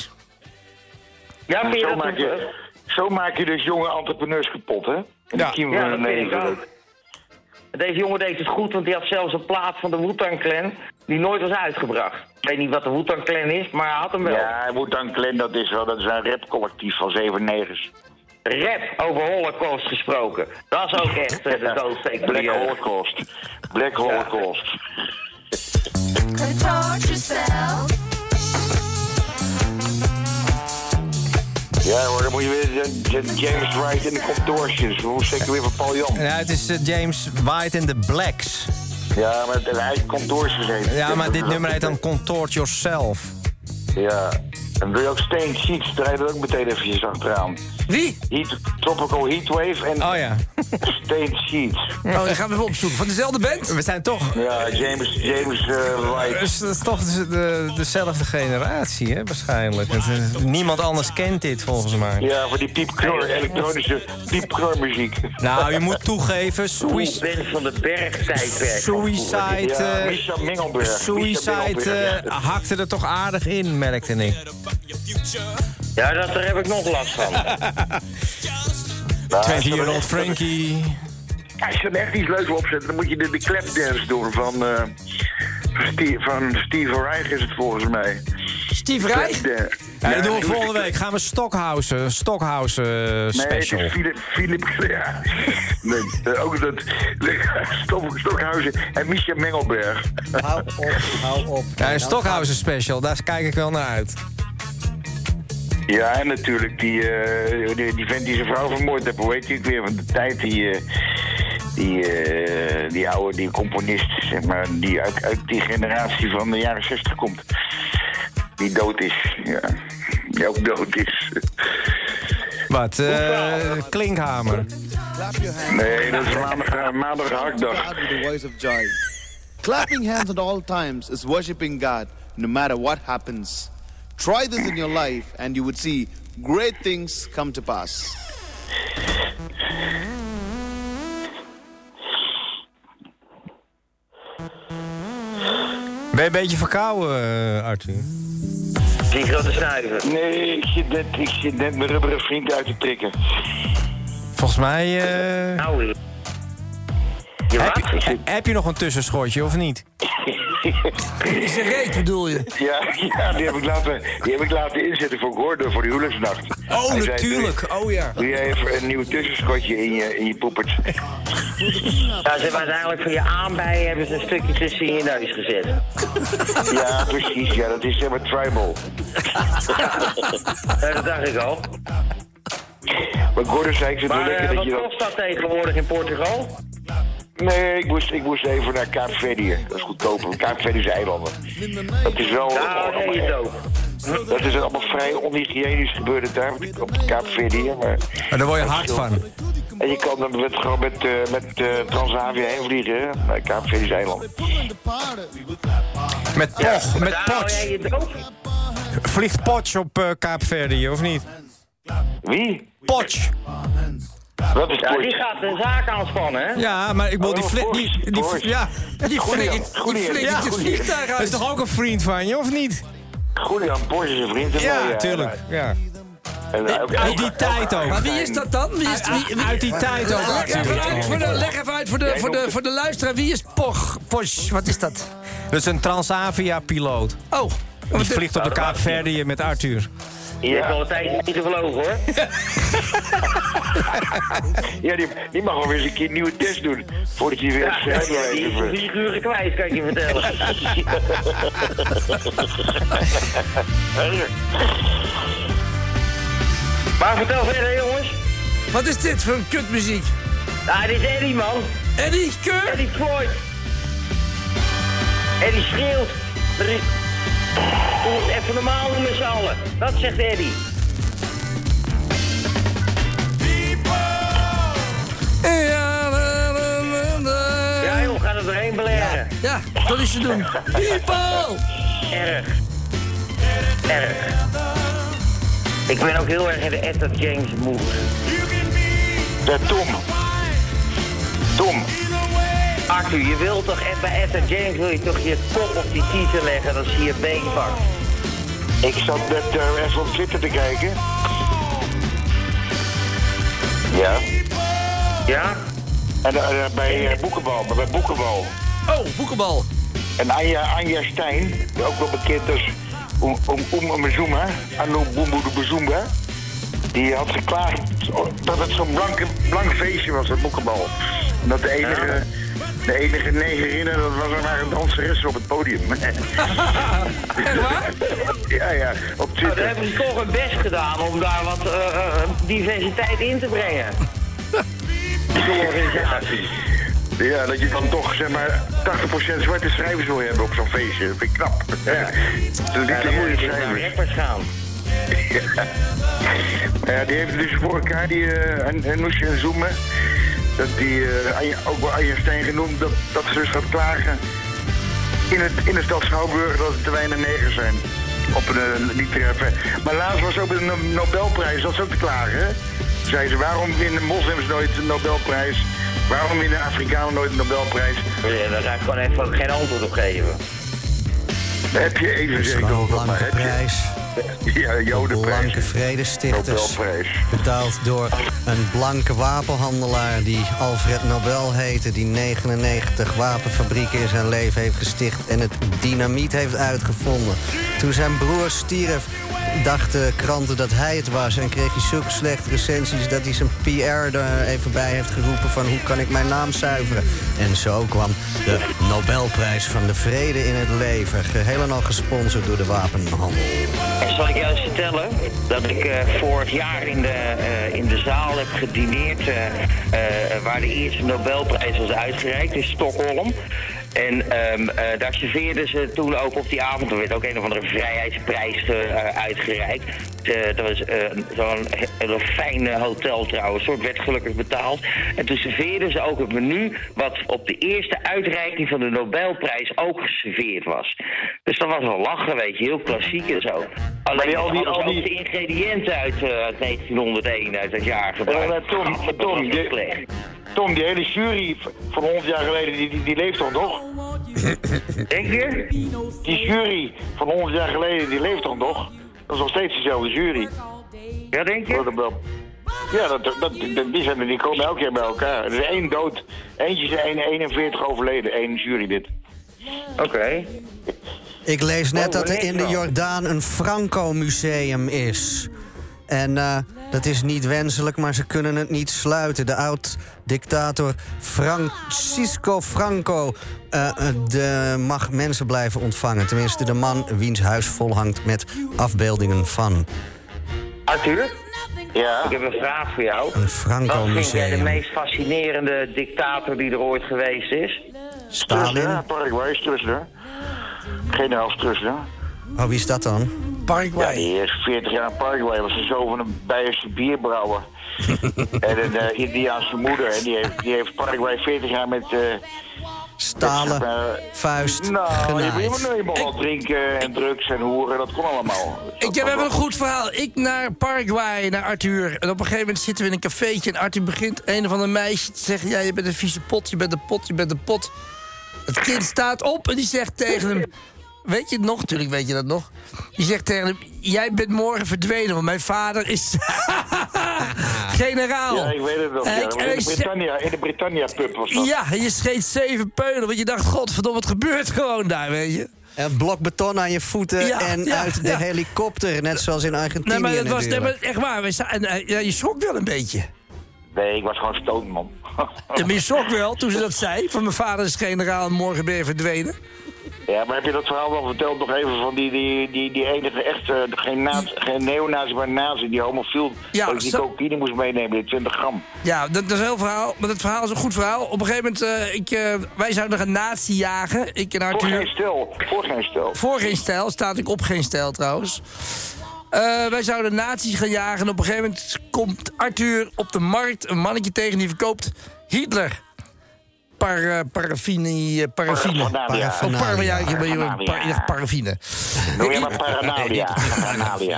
[SPEAKER 11] Ja, vind je
[SPEAKER 9] Zo
[SPEAKER 11] dat
[SPEAKER 9] maak
[SPEAKER 11] een-
[SPEAKER 9] je, zo maak je dus jonge entrepreneurs kapot, hè? En
[SPEAKER 8] Ja.
[SPEAKER 9] die kiemen
[SPEAKER 11] Ja,
[SPEAKER 9] we
[SPEAKER 11] dat
[SPEAKER 9] nee,
[SPEAKER 11] vind ik ook. Deze jongen deed het goed, want die had zelfs een plaat van de Wu-Tang Clan die nooit was uitgebracht. Ik weet niet wat de Wu-Tang Clan is, maar hij had hem wel.
[SPEAKER 9] Ja, hij moet dan Glenn, dat is wel, dat is een rapcollectief van zeven negers.
[SPEAKER 11] Rap over Holocaust gesproken. Dat is ook echt eh, de doodsteek.
[SPEAKER 9] Black Holocaust. Black Holocaust.
[SPEAKER 7] Contort yourself.
[SPEAKER 9] Ja hoor, dan moet je weer de, de James Wright en de Contortions. Hoe zeker weer van Paul Jan.
[SPEAKER 8] Ja, het is eh, James White en de Blacks.
[SPEAKER 9] Ja, maar het- hij heeft Contortions heet.
[SPEAKER 8] Ja, maar dit nummer heet dan Contort Yourself.
[SPEAKER 9] Ja. En wil je ook Stain Sheets draaien dat ook meteen eventjes achteraan.
[SPEAKER 5] Wie?
[SPEAKER 9] Heat, tropical Heatwave en
[SPEAKER 8] Oh ja.
[SPEAKER 9] Stain Sheets.
[SPEAKER 5] Oh, die gaan we even opzoeken. Van dezelfde band?
[SPEAKER 8] We zijn toch...
[SPEAKER 9] Ja, James, James eh, White.
[SPEAKER 8] Dus dat is toch de, de- dezelfde generatie, hè, waarschijnlijk. Het is- niemand anders kent dit, volgens mij.
[SPEAKER 9] Ja, voor die piepknor, elektronische piepknormuziek.
[SPEAKER 8] Nou, je moet toegeven,
[SPEAKER 11] Hoe
[SPEAKER 8] sui-
[SPEAKER 11] Ben van de Berg tijdperk.
[SPEAKER 8] Suicide...
[SPEAKER 9] Ja,
[SPEAKER 8] eh,
[SPEAKER 9] Misha Mengelberg.
[SPEAKER 8] Suicide eh,
[SPEAKER 9] ja.
[SPEAKER 8] hakte er toch aardig in, merkte ik.
[SPEAKER 11] Ja, dat, daar heb ik nog last van.
[SPEAKER 8] 20-year-old Frankie.
[SPEAKER 9] Als je er echt iets leuks wil opzetten, dan moet je de, de clapdance doen van... eh Steve, van Steve Reich is het volgens mij.
[SPEAKER 5] Steve Rij?
[SPEAKER 9] Clapdance.
[SPEAKER 8] Ja, dat
[SPEAKER 9] Ja,
[SPEAKER 8] doen we
[SPEAKER 9] die moet-
[SPEAKER 8] volgende week. Gaan we Stockhausen, Stockhausen eh,
[SPEAKER 9] Nee, het
[SPEAKER 8] special.
[SPEAKER 9] is Philip... Philip ja. nee, eh, ook dat... Stof- Stokhuizen en Misha Mengelberg.
[SPEAKER 1] Hou op, hou op.
[SPEAKER 8] Ja, een Stockhausen special, daar kijk ik wel naar uit.
[SPEAKER 9] Ja, en natuurlijk die, eh, die, die vent die zijn vrouw vermoord heeft. Hoe heet die ook weer van de tijd? Die, eh, die, eh, die oude die componist, zeg maar, die uit, uit die generatie van de jaren zestig komt. Die dood is, ja. Die ook dood is.
[SPEAKER 8] Wat? eh, klinkhamer.
[SPEAKER 12] Clap your hands.
[SPEAKER 9] Nee, dat is maandag, eh, maandag hakdag.
[SPEAKER 12] God with the voice of joy. Clapping hands at all times is worshiping God, no matter what happens. Try this in your life, and you would see great things come to pass.
[SPEAKER 8] Ben je een beetje verkouden, eh, Arthur?
[SPEAKER 11] Die grote snuiven.
[SPEAKER 9] Nee, ik zit, net, ik zit net mijn rubberen vriend uit te prikken.
[SPEAKER 8] Volgens mij... eh,
[SPEAKER 11] Nou weer. Je
[SPEAKER 8] heb,
[SPEAKER 11] wat?
[SPEAKER 8] je, heb je nog een tussenschotje, of niet?
[SPEAKER 5] Is een reet, bedoel je?
[SPEAKER 9] Ja, ja die, heb ik laten, die heb ik laten inzetten voor Gordon voor de huwelijksnacht.
[SPEAKER 5] Oh,
[SPEAKER 9] Hij zei,
[SPEAKER 5] natuurlijk. Oh ja.
[SPEAKER 9] Doe jij even een nieuw tussenschotje in je, in je poepert.
[SPEAKER 11] Ja, ze hebben uiteindelijk van je aanbij hebben ze een stukje tussen je neus gezet.
[SPEAKER 9] Ja, precies. Ja, dat is zeg maar tribal.
[SPEAKER 11] Ja, dat dacht ik al.
[SPEAKER 9] Maar Gordon zei, ik zit wel
[SPEAKER 11] Maar
[SPEAKER 9] lekker
[SPEAKER 11] eh,
[SPEAKER 9] dat
[SPEAKER 11] wat
[SPEAKER 9] je dat...
[SPEAKER 11] kost dat tegenwoordig in Portugal?
[SPEAKER 9] Nee, ik moest, ik moest even naar Kaapverdië. Dat is goedkoper. Kaapverdië is eilanden. Dat is wel...
[SPEAKER 11] Nou,
[SPEAKER 9] allemaal-
[SPEAKER 11] nee, je dood.
[SPEAKER 9] dat is allemaal vrij onhygiënisch gebeurd het daar op- op Kaapverdië. Maar...
[SPEAKER 8] Maar daar word je hard van.
[SPEAKER 9] En je kan dan met, gewoon met, eh, met eh, Transavia heen vliegen, hè? Naar Kaapverdië eiland.
[SPEAKER 8] Met Poch, met
[SPEAKER 11] Nou, ja,
[SPEAKER 8] Potsch.
[SPEAKER 11] je dood.
[SPEAKER 8] Vliegt Potsch op eh Kaapverdië, of niet?
[SPEAKER 9] Wie?
[SPEAKER 8] Potsch.
[SPEAKER 9] Dat is
[SPEAKER 11] Ja, die
[SPEAKER 9] Potsch.
[SPEAKER 11] gaat een zaak aanspannen, hè?
[SPEAKER 8] Ja, maar ik bedoel, die
[SPEAKER 9] Oh,
[SPEAKER 8] flit...
[SPEAKER 9] Potsch,
[SPEAKER 8] Die, die,
[SPEAKER 9] Potsch.
[SPEAKER 8] ja, die
[SPEAKER 9] Goeie,
[SPEAKER 8] flikkert...
[SPEAKER 9] goeie,
[SPEAKER 8] Die
[SPEAKER 9] ja,
[SPEAKER 8] flikkert je
[SPEAKER 9] goeie.
[SPEAKER 8] vliegtuig uit. Dat is toch ook een vriend van je, of niet?
[SPEAKER 9] Julian Potsch is een vriend van mij,
[SPEAKER 8] Ja, tuurlijk. Ja.
[SPEAKER 9] En, eh, ook-
[SPEAKER 8] Uit die tijd ook. ah,
[SPEAKER 5] Maar wie is dat dan? Wie is, wie, wie-
[SPEAKER 8] Uit die tijd ook,
[SPEAKER 5] Leg even uit voor de, leg even uit voor de, voor de, voor de luisteraar. Wie is Poch? Poch, wat is dat?
[SPEAKER 8] Dat is een Transavia-piloot.
[SPEAKER 5] Oh,
[SPEAKER 8] Die vliegt op de Kaapverdië met Arthur.
[SPEAKER 11] Je hebt al een tijdje niet gevlogen, hoor.
[SPEAKER 9] Ja, die, die mag wel weer eens een keer een nieuwe test doen. Voordat je weer
[SPEAKER 11] Ja,
[SPEAKER 9] ja,
[SPEAKER 11] die is om vier uur kwijt, kan ik je vertellen. Maar vertel verder, jongens.
[SPEAKER 5] wat is dit voor een kutmuziek?
[SPEAKER 11] Ah, dit is Eddie, man.
[SPEAKER 5] Eddie Keur?
[SPEAKER 11] Eddie Floyd. Eddie schreeuwt. Er is... Doe het even normaal doen met z'n allen. Dat zegt Eddie.
[SPEAKER 5] Ja, la, la, la, la.
[SPEAKER 11] Ja, joh, ga er doorheen beleren.
[SPEAKER 5] Ja, dat is te doen. People!
[SPEAKER 11] Erg. Erg. Ik ben ook heel erg in de Etta James mood.
[SPEAKER 9] De Tom. Tom.
[SPEAKER 11] Arthur, je wilt toch echt bij Etta James wil je toch je kop op die kiezen leggen, dan zie je been pakken.
[SPEAKER 9] Ik zat net eh, even op Twitter te kijken. Ja.
[SPEAKER 11] Ja?
[SPEAKER 9] En eh, eh, bij eh, Boekenbal, bij Boekenbal.
[SPEAKER 5] Oh, boekenbal.
[SPEAKER 9] En Anja, Anja Stijn, ook wel bekend als Om- Om- Om Amazuma, Anu Bumbu de Bezumba. Die had geklaagd dat het zo'n blank, blank feestje was, dat boekenbal. En dat de enige, de enige negerinnen, dat was maar een danseres op het podium.
[SPEAKER 5] Echt waar?
[SPEAKER 9] ja, ja, op
[SPEAKER 11] Nou, daar
[SPEAKER 9] Twitter.
[SPEAKER 11] hebben ze toch hun best gedaan om daar wat eh, eh, diversiteit in te brengen. Die organisatie.
[SPEAKER 9] Ja, dat je dan toch zeg maar 80% zwarte schrijvers wil hebben op zo'n feestje. Dat vind ik knap. Ja. Dat
[SPEAKER 11] Ja, dan moet
[SPEAKER 9] mooie
[SPEAKER 11] je dus naar
[SPEAKER 9] schrijvers.
[SPEAKER 11] rappers gaan.
[SPEAKER 9] Ja, die heeft dus voor elkaar, die eh, en en Noesje en Zoemen, dat die, eh, Anja- ook wel Anja Steen genoemd, dat, dat ze dus gaat klagen in, het, in de stad Schouwburg dat er te weinig negers zijn. Op een eh, literair ver- Maar laatst was ook een No- Nobelprijs, dat is ook te klagen. hè? Zei ze, waarom winnen moslims nooit een Nobelprijs? Waarom winnen Afrikanen nooit een Nobelprijs?
[SPEAKER 11] Ja, daar ga ik gewoon even ook geen antwoord op geven.
[SPEAKER 9] Heb je even, zeg ik altijd maar,
[SPEAKER 1] Belangrijke
[SPEAKER 9] heb je...
[SPEAKER 1] prijs.
[SPEAKER 9] Ja, Jodenprijs.
[SPEAKER 1] Blanke vredestichters.
[SPEAKER 9] Nobelprijs.
[SPEAKER 1] Betaald door een blanke wapenhandelaar die Alfred Nobel heette. Die 99 wapenfabrieken in zijn leven heeft gesticht. En het dynamiet heeft uitgevonden. Toen zijn broer stierf dachten kranten dat hij het was. En kreeg hij zulke slechte recensies dat hij zijn PR er even bij heeft geroepen van hoe kan ik mijn naam zuiveren. En zo kwam de Nobelprijs van de Vrede in het leven. Geheel en al gesponsord door de wapenhandel.
[SPEAKER 11] En zal ik jou eens vertellen dat ik eh, vorig jaar in de, eh, in de zaal heb gedineerd eh, eh, waar de eerste Nobelprijs was uitgereikt in Stockholm. En ehm, eh, daar serveerden ze toen ook op die avond. Er werd ook een of andere vrijheidsprijs eh, uitgereikt. Eh, dat was eh, zo'n heel fijn eh, hotel trouwens. Soort werd gelukkig betaald. En toen serveerden ze ook het menu wat op de eerste uitreiking van de Nobelprijs ook geserveerd was. Dus dat was wel lachen, weet je. Heel klassiek en zo. Alleen
[SPEAKER 9] al
[SPEAKER 11] al
[SPEAKER 9] die-
[SPEAKER 11] die,
[SPEAKER 9] al die-
[SPEAKER 11] de ingrediënten uit, eh, uit 1901, uit dat jaar gebruikt.
[SPEAKER 9] Ja, maar Tom,
[SPEAKER 11] Dat was
[SPEAKER 9] Tom,
[SPEAKER 11] niet
[SPEAKER 9] je-
[SPEAKER 11] slecht.
[SPEAKER 9] Tom, die hele jury v- van 100 jaar geleden, die, die, die leeft toch nog?
[SPEAKER 11] Denk je?
[SPEAKER 9] Die jury van 100 jaar geleden, die leeft toch nog? Dat is nog steeds dezelfde jury.
[SPEAKER 11] Ja, denk je?
[SPEAKER 9] Wat een bel- Ja, dat, dat, die- die, zijn, er- die komen elke keer bij elkaar. Er is één dood. Eentje is één 41 overleden. Eén jury dit.
[SPEAKER 11] Oké.
[SPEAKER 1] Ik lees net
[SPEAKER 11] Oh,
[SPEAKER 1] dat er
[SPEAKER 11] lees
[SPEAKER 1] in de
[SPEAKER 11] wel.
[SPEAKER 1] Jordaan een Franco-museum is. En eh, dat is niet wenselijk, maar ze kunnen het niet sluiten. De oud-dictator Francisco Franco eh, eh, de, mag mensen blijven ontvangen. Tenminste, de man wiens huis volhangt met afbeeldingen van
[SPEAKER 11] Arthur,
[SPEAKER 9] Ja.
[SPEAKER 11] ik heb een vraag voor jou.
[SPEAKER 1] een
[SPEAKER 11] Wat vind jij de
[SPEAKER 1] Franco-museum.
[SPEAKER 11] meest fascinerende dictator die er ooit geweest is?
[SPEAKER 1] Stalin?
[SPEAKER 9] Paraguay is Trusler. Generaal Trusler.
[SPEAKER 1] Oh, wie is dat dan?
[SPEAKER 9] Ja,
[SPEAKER 5] Paraguay.
[SPEAKER 9] die is 40 jaar in Paraguay. Was de zoon van een Bijerse bierbrouwer. en een eh, Indiaanse moeder. En die heeft, die heeft Paraguay 40 jaar met... eh,
[SPEAKER 1] Stalen, vuist,
[SPEAKER 9] nou, je
[SPEAKER 1] genaaid.
[SPEAKER 9] moet nu eenmaal wat drinken en drugs en hoeren. Dat kon allemaal.
[SPEAKER 5] Ik heb even een goed verhaal. Ik naar Paraguay, naar Arthur. En op een gegeven moment zitten we in een cafeetje. En Arthur begint een of ander meisje te zeggen... Ja, je bent een vieze pot, je bent een pot, je bent een pot. Het kind staat op en die zegt tegen hem... Weet je het nog? Natuurlijk weet je dat nog. Die zegt tegen hem... Jij bent morgen verdwenen, want mijn vader is... generaal.
[SPEAKER 9] Ja, ik weet het wel.
[SPEAKER 5] En
[SPEAKER 9] ja.
[SPEAKER 5] ik- en
[SPEAKER 9] In
[SPEAKER 5] ik
[SPEAKER 9] de
[SPEAKER 5] zeg-
[SPEAKER 9] Britannia, in de Britannia pub was dat.
[SPEAKER 5] Ja, en je scheet zeven peulen, want je dacht... Godverdomme, wat gebeurt gewoon daar, weet je?
[SPEAKER 1] Een blok beton aan je voeten
[SPEAKER 5] Ja,
[SPEAKER 1] en
[SPEAKER 5] ja,
[SPEAKER 1] uit de
[SPEAKER 5] ja.
[SPEAKER 1] helikopter. Net zoals in Argentinië
[SPEAKER 5] Nee, maar dat was nee,
[SPEAKER 1] natuurlijk.
[SPEAKER 5] maar echt waar. We sta- en, eh, ja, je schrok wel een beetje.
[SPEAKER 9] Nee, ik was gewoon stoned, man.
[SPEAKER 5] Ja, maar je schrok wel toen ze dat zei. Van mijn vader is generaal en morgen ben je verdwenen.
[SPEAKER 9] Ja, maar heb je dat verhaal wel verteld nog even van die, die, die, die enige echte, geen, nazi, geen neonazi, maar nazi, die homofiel,
[SPEAKER 5] Ja,
[SPEAKER 9] dat ik die
[SPEAKER 5] zo-
[SPEAKER 9] cocaïne moest meenemen, die 20 gram.
[SPEAKER 5] Ja, dat, dat is een heel verhaal. Maar dat verhaal is een goed verhaal. Op een gegeven moment, eh, ik, eh, wij zouden een nazi jagen. Ik en
[SPEAKER 9] Voor
[SPEAKER 5] Arthur.
[SPEAKER 11] Oh,
[SPEAKER 9] geen stel, voor geen stel.
[SPEAKER 5] Voor geen stijl, staat ik op geen stijl trouwens. Eh, wij zouden nazi's gaan jagen en op een gegeven moment komt Arthur op de markt een mannetje tegen die verkoopt Hitler. Par, eh, paraffini, eh, paraffine.
[SPEAKER 9] Paraphernalia.
[SPEAKER 5] Oh, par- ja, ik ben-
[SPEAKER 9] Paraphernalia.
[SPEAKER 5] par- ja, paraffine.
[SPEAKER 9] Noem je maar paranalia. Paranalia.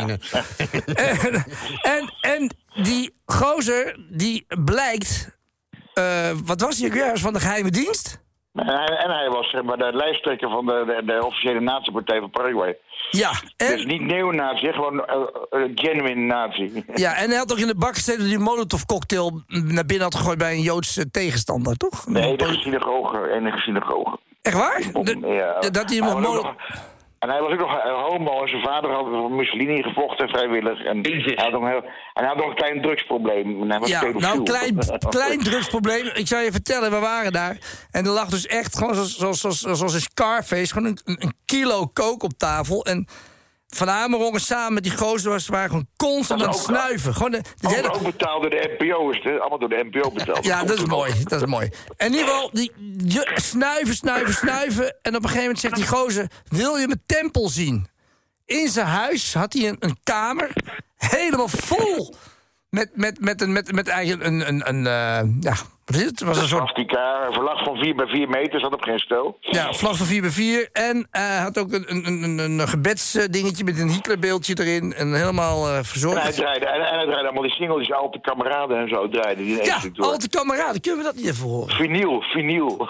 [SPEAKER 5] en, en, en die gozer, die blijkt... eh, wat was hij ook weer? Hij was van de geheime dienst?
[SPEAKER 9] En hij, en hij was zeg maar, de lijsttrekker van de, de, de officiële nazi-partij van Paraguay.
[SPEAKER 5] Ja,
[SPEAKER 9] Dus niet neonazi, gewoon eh, eh, genuine nazi.
[SPEAKER 5] Ja, en hij had ook in de bak gezeten dat hij een Molotov-cocktail naar binnen had gegooid bij een Joodse tegenstander, toch?
[SPEAKER 9] De enige synagoge, enige synagoge.
[SPEAKER 5] Echt waar?
[SPEAKER 9] ja.
[SPEAKER 5] dat hij hem
[SPEAKER 9] eh,
[SPEAKER 5] nog
[SPEAKER 9] Hij was ook
[SPEAKER 5] molo-
[SPEAKER 9] nog- En hij was ook nog eh, homo en zijn vader had voor Mussolini gevochten vrijwillig. En hij had nog een, heel- en hij had nog een klein drugsprobleem. En hij was
[SPEAKER 5] Ja,
[SPEAKER 9] pedofiel.
[SPEAKER 5] nou, klein, klein drugsprobleem. Ik zou je vertellen, we waren daar. En er lag dus echt, gewoon zoals, zoals, zoals, zoals in Scarface, gewoon een, een kilo kook op tafel. En Van Amerongen samen met die gozer was, waren gewoon constant aan het
[SPEAKER 9] Dat is ook-
[SPEAKER 5] snuiven. Gewoon de, de
[SPEAKER 9] Ook,
[SPEAKER 5] hele-
[SPEAKER 9] ook betaald door de NPO, is het, allemaal door de NPO betaald.
[SPEAKER 5] Ja, dat is mooi. Dat is mooi. En in ieder geval, die, je- snuiven, snuiven, snuiven. En op een gegeven moment zegt die gozer: Wil je mijn tempel zien? In zijn huis had hij een, een kamer helemaal vol. Met, met, met, een, met, met eigenlijk een. een, een eh, ja, wat is het? Het was een soort.
[SPEAKER 9] Swastika, een verlag van 4 bij 4 meter, zat op geen stel.
[SPEAKER 5] Ja, vlag van 4 bij 4 En eh, hij had ook een, een, een, een- een gebedsdingetje met een Hitlerbeeldje erin. En helemaal eh,
[SPEAKER 9] En hij,
[SPEAKER 5] verzorgd.
[SPEAKER 9] draaide, en, en hij draaide allemaal die singles, al de kameraden en zo draaiden die in één
[SPEAKER 5] Ja,
[SPEAKER 9] stuk door.
[SPEAKER 5] al te kameraden. Kunnen we dat niet even horen?
[SPEAKER 9] Vinyl, vinyl.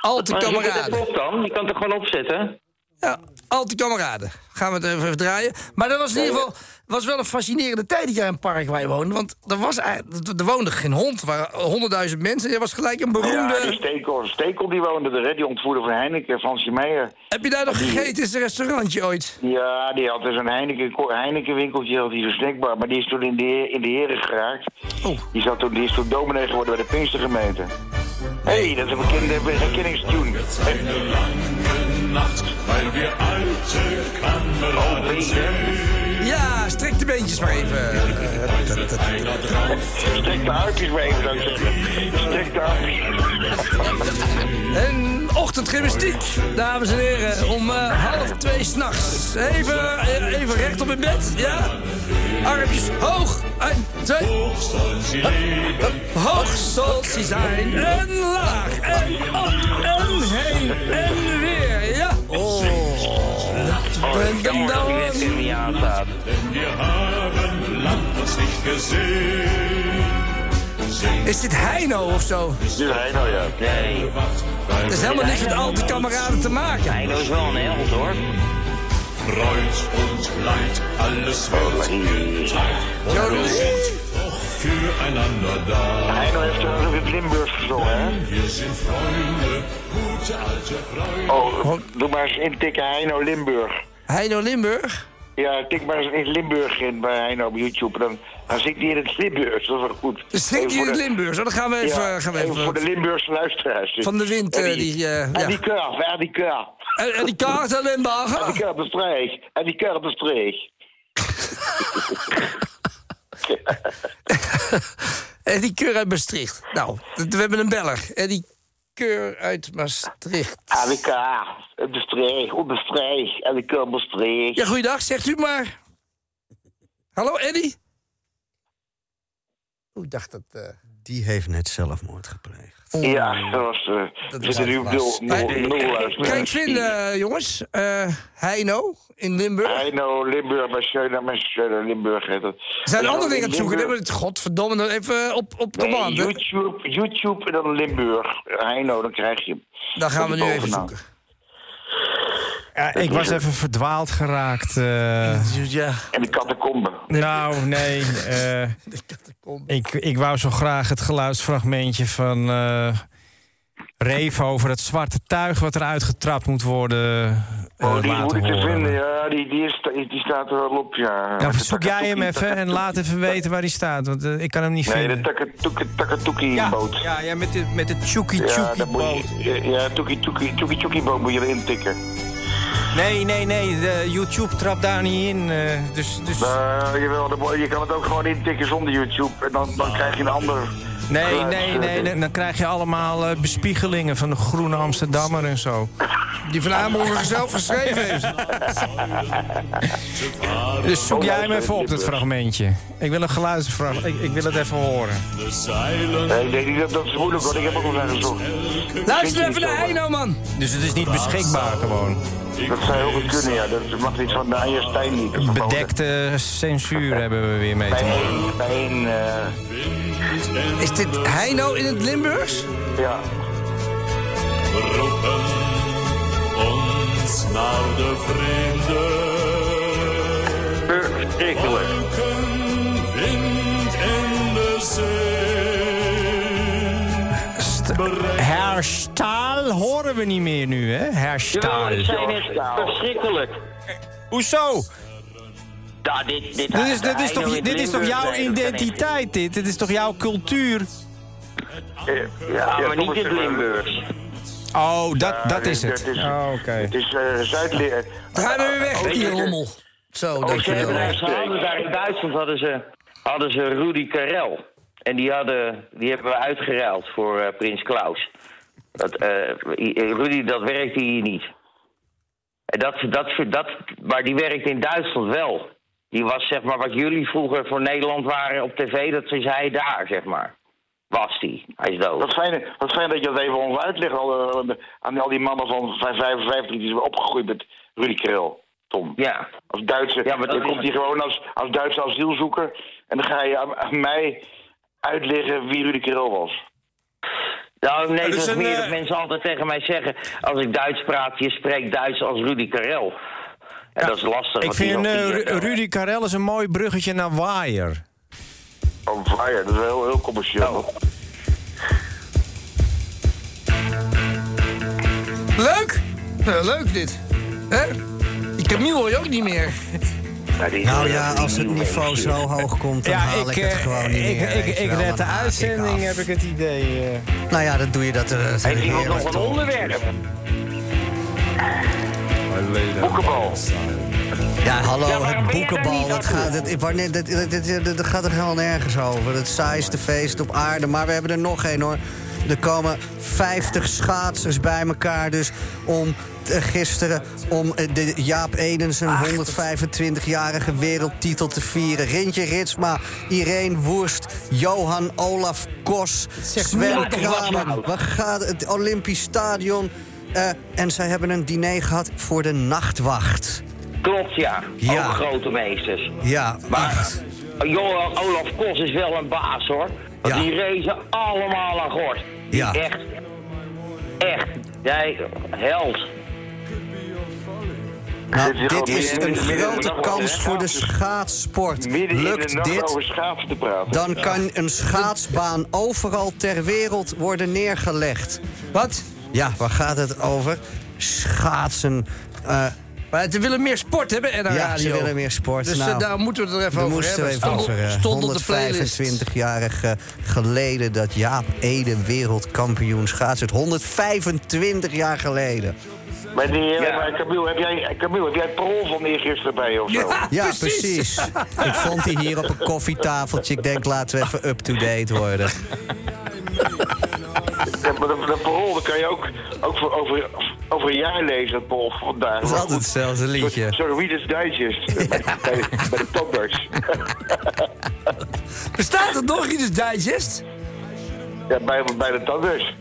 [SPEAKER 5] Al te
[SPEAKER 11] Maar zoek het
[SPEAKER 5] kameraden.
[SPEAKER 11] Oh, even op dan. Je kan het er gewoon opzetten.
[SPEAKER 5] Ja, al die kameraden. Gaan we het even, even draaien. Maar dat was in ieder geval was wel een fascinerende tijd dat jij in Paraguay woonde. Want er, was, eigenlijk- er er woonde geen hond. Er waren honderdduizend mensen. Je was gelijk een beroemde...
[SPEAKER 9] Ja, dus- die Stekel, Stekel die woonde er, hè, die ontvoerder van Heineken, Fransje Meijer.
[SPEAKER 5] Heb je daar nog gegeten in zijn restaurantje ooit?
[SPEAKER 9] Ja, die had dus een Heineken, Heineken winkeltje, had hij zo'n snackbar, maar die is toen in de, in de heren geraakt. Die, zat toen, die is toen dominee geworden bij de Pinkstergemeente. Hé, hey, dat is een bekende herkenningstune.
[SPEAKER 5] Ja, strek de beentjes maar even.
[SPEAKER 9] Strek de armpjes mee, zou ik zeggen. Strek de
[SPEAKER 5] armpjes. En ochtendgymnastiek, dames en heren. Om eh, half twee s'nachts. Even, eh, even recht op in bed, ja? Armpjes hoog. En twee. Hup, hup. Hoog zal ze zijn. En laag. En op. En heen. En weer. Ja. Oh.
[SPEAKER 11] Ik ben moe Oh, dat die net in niet aanstaat.
[SPEAKER 5] Is dit Heino of zo?
[SPEAKER 9] Dit is Heino, ja.
[SPEAKER 11] Nee.
[SPEAKER 5] Dat is helemaal niks met al die kameraden te maken.
[SPEAKER 11] Heino is wel een held hoor.
[SPEAKER 7] Kreuz und Leid, alles wird Zeit. Und doch füreinander da.
[SPEAKER 9] Heino heeft er in Limburg gezongen, hè?
[SPEAKER 7] Wir sind Freunde, gute alte Freunde.
[SPEAKER 9] Oh, doe maar eens intikken Heino Limburg.
[SPEAKER 5] Heino Limburg?
[SPEAKER 9] Ja, tik maar eens in Limburg in bij Heino op YouTube. Dan, dan zingt hij in het Limburgs, dat is wel goed.
[SPEAKER 5] Dan zingt
[SPEAKER 9] Even
[SPEAKER 5] hij
[SPEAKER 9] voor
[SPEAKER 5] in
[SPEAKER 9] de-
[SPEAKER 5] het Limburgs, hoor. Dan gaan we even- eh, gaan we even-
[SPEAKER 9] voor de Limburgse luisteraars. dus.
[SPEAKER 5] Van de wind, eh, die, eh, ja.
[SPEAKER 9] En die kurf, en die kurf.
[SPEAKER 5] En, en die kaart aan Limburg.
[SPEAKER 9] En die kurf bestreeg, en die kurf bestreeg.
[SPEAKER 5] Eddie Keur uit Maastricht. Nou, d- we hebben een beller. Eddie Keur uit Maastricht.
[SPEAKER 9] En die kurf, bestreeg, onbestreeg, en die kurf bestreeg.
[SPEAKER 5] Ja, goeiedag, zegt u maar. Hallo, Eddie? Oeh, ik dacht dat... eh,
[SPEAKER 1] Die heeft net zelfmoord gepleegd.
[SPEAKER 9] Ja, dat was... eh,
[SPEAKER 5] dat
[SPEAKER 9] we zitten nu op nul, nul, nul luisteraars.
[SPEAKER 5] Kijk, vinden, jongens. Eh, Heino in Limburg.
[SPEAKER 9] Heino, nou, Limburg, bij Schöner, mensen Schöner, nou, Limburg. Heet dat.
[SPEAKER 5] Er zijn
[SPEAKER 9] Dus
[SPEAKER 5] andere dingen aan het zoeken. Dan
[SPEAKER 9] Limburg-
[SPEAKER 5] hebben we het godverdomme nog even op, op de
[SPEAKER 9] Nee,
[SPEAKER 5] band. hè.
[SPEAKER 9] YouTube, YouTube en dan Limburg. Heino, dan krijg je hem.
[SPEAKER 5] Dan gaan we
[SPEAKER 9] Komt
[SPEAKER 5] nu
[SPEAKER 9] die
[SPEAKER 5] even
[SPEAKER 9] bovenaan.
[SPEAKER 5] zoeken.
[SPEAKER 8] Ja, ik was even verdwaald geraakt. eh.
[SPEAKER 5] Ja.
[SPEAKER 9] En de catacomben.
[SPEAKER 8] nou, nee. eh, ik, ik wou zo graag het geluidsfragmentje van eh Reef over het zwarte tuig wat eruit getrapt moet worden. eh,
[SPEAKER 9] Oh, die
[SPEAKER 8] laten
[SPEAKER 9] moet ik te
[SPEAKER 8] horen.
[SPEAKER 9] vinden, ja. Die, die, is, die staat er wel op, ja.
[SPEAKER 8] Nou,
[SPEAKER 9] De
[SPEAKER 8] zoek jij hem
[SPEAKER 9] takatoeki,
[SPEAKER 8] even en laat even weten waar hij staat, want eh, ik kan hem niet
[SPEAKER 9] Nee,
[SPEAKER 8] vinden.
[SPEAKER 9] de takatoeki- takatoeki-boot.
[SPEAKER 8] ja, ja, met de, met de Chucky
[SPEAKER 9] Ja,
[SPEAKER 8] Chucky
[SPEAKER 9] dat moet je- ja, toekie toekie toekie toekie boot moet je erin tikken.
[SPEAKER 8] Nee, nee, nee. de YouTube trapt daar niet in. eh, dus, dus...
[SPEAKER 9] Eh, jawel, dat mo- je kan het ook gewoon intikken zonder YouTube. En dan, dan krijg je een ander.
[SPEAKER 8] Nee,
[SPEAKER 9] geluid,
[SPEAKER 8] nee,
[SPEAKER 9] eh,
[SPEAKER 8] nee,
[SPEAKER 9] ding.
[SPEAKER 8] nee, Dan krijg je allemaal eh, bespiegelingen van de Groene Amsterdammer en zo.
[SPEAKER 5] Die Van Amelburger zelf geschreven heeft.
[SPEAKER 8] Dus zoek
[SPEAKER 5] Oh,
[SPEAKER 8] jij
[SPEAKER 5] luister,
[SPEAKER 8] hem even op, dat
[SPEAKER 5] Limburg.
[SPEAKER 8] fragmentje. Ik wil een geluidsfragment. Ik, ik wil het even horen.
[SPEAKER 9] Nee, nee, die- dat, dat is moeilijk hoor. Ik heb ook al naar gezocht.
[SPEAKER 5] Luister even naar Eino, man.
[SPEAKER 8] Dus het is niet beschikbaar gewoon.
[SPEAKER 9] Dat zou heel goed kunnen, ja. Dat mag niet van de Anja Stijn niet.
[SPEAKER 8] Bedekte censuur hebben we weer mee
[SPEAKER 9] Bij
[SPEAKER 8] te maken.
[SPEAKER 9] één, bij één, eh,
[SPEAKER 5] Is dit Heino in het Limburgs?
[SPEAKER 9] ja.
[SPEAKER 7] We roepen ons naar de vreemde.
[SPEAKER 9] Verschrikkelijk.
[SPEAKER 7] wind in de zee.
[SPEAKER 8] Herstaal horen we niet meer nu, hè? Herstaal.
[SPEAKER 11] Jawel, ik zei net, verschrikkelijk.
[SPEAKER 8] Hoezo?
[SPEAKER 11] Ja, dit, dit,
[SPEAKER 8] Dit is, dit is,
[SPEAKER 11] Heino
[SPEAKER 8] toch,
[SPEAKER 11] in
[SPEAKER 8] dit is toch
[SPEAKER 11] Limburg,
[SPEAKER 8] jouw
[SPEAKER 11] nee, dat kan niet.
[SPEAKER 8] identiteit, dit? Dit is toch jouw cultuur?
[SPEAKER 11] Ja, maar niet in
[SPEAKER 9] het
[SPEAKER 11] Limburgs.
[SPEAKER 8] Oh, dat, dat is het.
[SPEAKER 9] Het is,
[SPEAKER 5] Ah,
[SPEAKER 8] Oh, oké.
[SPEAKER 9] het is eh Zuid-Leer.
[SPEAKER 5] Draai maar weer weg,
[SPEAKER 11] Weet
[SPEAKER 5] die
[SPEAKER 11] je,
[SPEAKER 5] rommel. Zo,
[SPEAKER 11] Oh, ze
[SPEAKER 9] eh,
[SPEAKER 11] hebben daar,
[SPEAKER 5] dankjewel.
[SPEAKER 11] ze hadden daar in Duitsland hadden ze, hadden ze Rudy Karel. En die, hadden, die hebben we uitgeruild voor eh, Prins Klaus. Dat, eh, i- Rudy, dat werkte hier niet. En dat, dat, dat, maar die werkte in Duitsland wel. Die was zeg maar wat jullie vroeger voor Nederland waren op tv, dat is hij daar, zeg maar. Was die. Hij is dood.
[SPEAKER 9] Wat fijn, wat fijn eh, dat je dat even ons uitlegt al, eh, aan al die mannen van 55 die zijn opgegroeid met Rudy Krell, Tom.
[SPEAKER 11] Ja.
[SPEAKER 9] Als Duitse.
[SPEAKER 11] Ja, maar dat
[SPEAKER 9] dan
[SPEAKER 11] is-
[SPEAKER 9] komt hij gewoon als, als Duitse asielzoeker. En dan ga je aan, aan mij uitleggen wie Rudy Krell was.
[SPEAKER 11] Nou, nee,
[SPEAKER 5] Het
[SPEAKER 8] dus
[SPEAKER 5] is
[SPEAKER 11] dat is
[SPEAKER 5] een,
[SPEAKER 11] meer
[SPEAKER 5] eh,
[SPEAKER 11] dat mensen altijd tegen mij zeggen... als ik Duits praat, je spreekt Duits als Rudy Karel. En dat is lastig.
[SPEAKER 8] Ik
[SPEAKER 11] want die
[SPEAKER 8] vind
[SPEAKER 11] is
[SPEAKER 8] eh,
[SPEAKER 11] nog niet-
[SPEAKER 8] Ru- Rudy Karel is een mooi bruggetje naar Waier.
[SPEAKER 9] Oh, fire, dat is heel, heel
[SPEAKER 11] Oh.
[SPEAKER 9] commercieel.
[SPEAKER 5] Leuk? Nou, leuk dit. Hè? Die Camille hoor je ook niet meer.
[SPEAKER 11] Ja, die is
[SPEAKER 1] Nou
[SPEAKER 11] nog
[SPEAKER 1] ja,
[SPEAKER 11] niet-
[SPEAKER 1] als het
[SPEAKER 11] die-
[SPEAKER 1] niveau zo hoog komt, dan
[SPEAKER 8] Ja,
[SPEAKER 1] haal ik,
[SPEAKER 8] ik,
[SPEAKER 1] het
[SPEAKER 8] eh,
[SPEAKER 1] gewoon niet
[SPEAKER 8] ik,
[SPEAKER 1] meer.
[SPEAKER 8] ik,
[SPEAKER 1] weet
[SPEAKER 8] ik,
[SPEAKER 1] je wel.
[SPEAKER 8] red de
[SPEAKER 1] Dan haak ik
[SPEAKER 8] uitzending,
[SPEAKER 1] af.
[SPEAKER 8] heb ik het idee. eh.
[SPEAKER 1] Nou ja, dat doe je dat. eh, dat
[SPEAKER 11] Heeft iemand
[SPEAKER 1] heerlijk,
[SPEAKER 11] nog een
[SPEAKER 1] toch?
[SPEAKER 11] onderwerp?
[SPEAKER 9] Boekenbal.
[SPEAKER 1] Ja, hallo,
[SPEAKER 11] Ja, waarom
[SPEAKER 1] het
[SPEAKER 11] ben jij daar
[SPEAKER 1] boekenbal.
[SPEAKER 11] niet
[SPEAKER 1] Dat
[SPEAKER 11] aan
[SPEAKER 1] gaat,
[SPEAKER 11] toe?
[SPEAKER 1] het, wanneer, dat, dat, dat, dat- dat gaat er helemaal nergens over. Het saaiste feest op aarde. Maar we hebben er nog één hoor. Er komen 50 schaatsers bij elkaar. Dus om eh, gisteren om eh, de Jaap Eden zijn 125-jarige wereldtitel te vieren. Rintje Ritsma, Irene Woerst, Johan Olaf Kos,
[SPEAKER 5] Zeg,
[SPEAKER 1] Sven
[SPEAKER 5] nou toch wat
[SPEAKER 1] Kramer. We gaan het Olympisch Stadion. eh, en zij hebben een diner gehad voor de nachtwacht.
[SPEAKER 11] Klopt, ja.
[SPEAKER 1] Ja.
[SPEAKER 11] Ook grote meesters.
[SPEAKER 1] Ja,
[SPEAKER 11] Maar
[SPEAKER 1] echt.
[SPEAKER 11] Johan Olaf Kos is wel een baas, hoor. Want
[SPEAKER 1] Ja.
[SPEAKER 11] die rezen allemaal aan gort.
[SPEAKER 1] Ja.
[SPEAKER 11] Echt. Echt. Jij, held.
[SPEAKER 1] Nou,
[SPEAKER 9] Dit is
[SPEAKER 1] dit
[SPEAKER 9] gewoon
[SPEAKER 1] is
[SPEAKER 9] midden-
[SPEAKER 1] een
[SPEAKER 9] midden in de
[SPEAKER 1] grote
[SPEAKER 9] nacht,
[SPEAKER 1] kans
[SPEAKER 9] hè?
[SPEAKER 1] voor de schaatsport.
[SPEAKER 9] Midden in de
[SPEAKER 1] Lukt
[SPEAKER 9] nacht
[SPEAKER 1] dit,
[SPEAKER 9] over schaatsen te praten.
[SPEAKER 1] dan kan een schaatsbaan overal ter wereld worden neergelegd.
[SPEAKER 5] Wat?
[SPEAKER 1] Ja, waar gaat het over? Schaatsen. Eh,
[SPEAKER 5] Maar ze willen meer sport hebben en aan
[SPEAKER 1] Ja,
[SPEAKER 5] radio.
[SPEAKER 1] ze willen meer sport.
[SPEAKER 5] Dus eh,
[SPEAKER 1] Nou,
[SPEAKER 5] daar moeten we het er even
[SPEAKER 1] we
[SPEAKER 5] over
[SPEAKER 1] moesten
[SPEAKER 5] hebben.
[SPEAKER 1] even
[SPEAKER 5] Stond-
[SPEAKER 1] over, eh,
[SPEAKER 5] Stond op de playlist.
[SPEAKER 1] 125-jarig eh, geleden dat Jaap Eden wereldkampioen schaatsen. 125 jaar geleden.
[SPEAKER 9] Maar die, eh,
[SPEAKER 11] Ja.
[SPEAKER 9] maar Camille, heb jij, Camille, heb jij het parool van eergisteren bij je of zo?
[SPEAKER 5] Ja,
[SPEAKER 1] Ja,
[SPEAKER 5] precies.
[SPEAKER 1] precies. Ik vond die hier op een koffietafeltje. Ik denk, laten we even up-to-date worden.
[SPEAKER 9] Ja, maar dat, dat parool, dat kan je ook, ook voor, over, over een jaar lezen, dat parool van vandaag.
[SPEAKER 1] Dat is altijd hetzelfde liedje.
[SPEAKER 9] Zo'n Reader's Digest eh, bij, bij, bij de toppers.
[SPEAKER 5] Bestaat er nog iets digest?
[SPEAKER 9] Ja, bij, bij de toppers.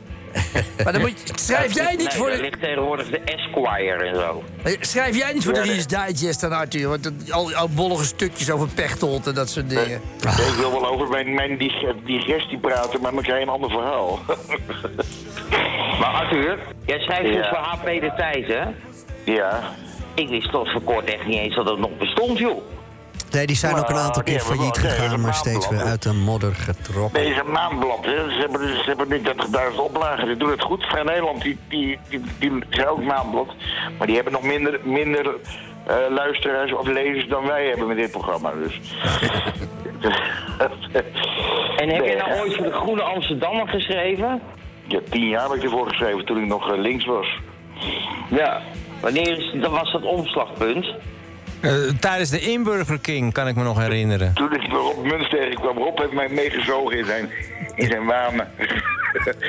[SPEAKER 5] Maar dan moet je, schrijf jij niet
[SPEAKER 11] Nee,
[SPEAKER 5] voor
[SPEAKER 11] daar
[SPEAKER 5] de, eh,
[SPEAKER 11] ligt tegenwoordig de Esquire en zo.
[SPEAKER 5] schrijf jij niet voor de Reader's Digest aan Arthur? Want dat- al, al bollige stukjes over pechtold en dat soort dingen.
[SPEAKER 11] Ah.
[SPEAKER 9] Ja, ik wil wel over mijn, mijn dig- digestie praten, maar dan krijg je een ander verhaal.
[SPEAKER 11] Maar Arthur, jij schrijft
[SPEAKER 9] Ja.
[SPEAKER 11] dus voor HP de Tijd, hè?
[SPEAKER 9] ja.
[SPEAKER 11] Ik wist tot voor kort echt niet eens dat het nog bestond, joh.
[SPEAKER 1] Nee, die zijn ook een aantal
[SPEAKER 9] die
[SPEAKER 1] keer
[SPEAKER 9] hebben
[SPEAKER 1] failliet
[SPEAKER 9] wel- nee,
[SPEAKER 1] gegaan,
[SPEAKER 9] dat
[SPEAKER 1] maar
[SPEAKER 9] is een
[SPEAKER 1] steeds weer
[SPEAKER 9] maandblad.
[SPEAKER 1] uit de modder getrokken.
[SPEAKER 9] Nee, het is een maandblad. Hè. Ze hebben, ze hebben nu 30.000 oplagen. Ze doen het goed. Vrij Nederland, die, die, die, die zijn ook maandblad. Maar die hebben nog minder, minder eh, luisteraars of lezers dan wij hebben met dit programma. Dus.
[SPEAKER 11] En heb
[SPEAKER 9] Nee,
[SPEAKER 11] je nou ooit voor de Groene Amsterdammer geschreven?
[SPEAKER 9] Ja, tien jaar heb ik ervoor geschreven toen ik nog eh, links was.
[SPEAKER 11] Ja. Wanneer is, dan was dat omslagpunt?
[SPEAKER 8] Eh, tijdens de Inburger King kan ik me nog herinneren.
[SPEAKER 9] Toen ik Rob Muns tegenkwam, Rob heeft mij meegezogen in zijn, in zijn wanen.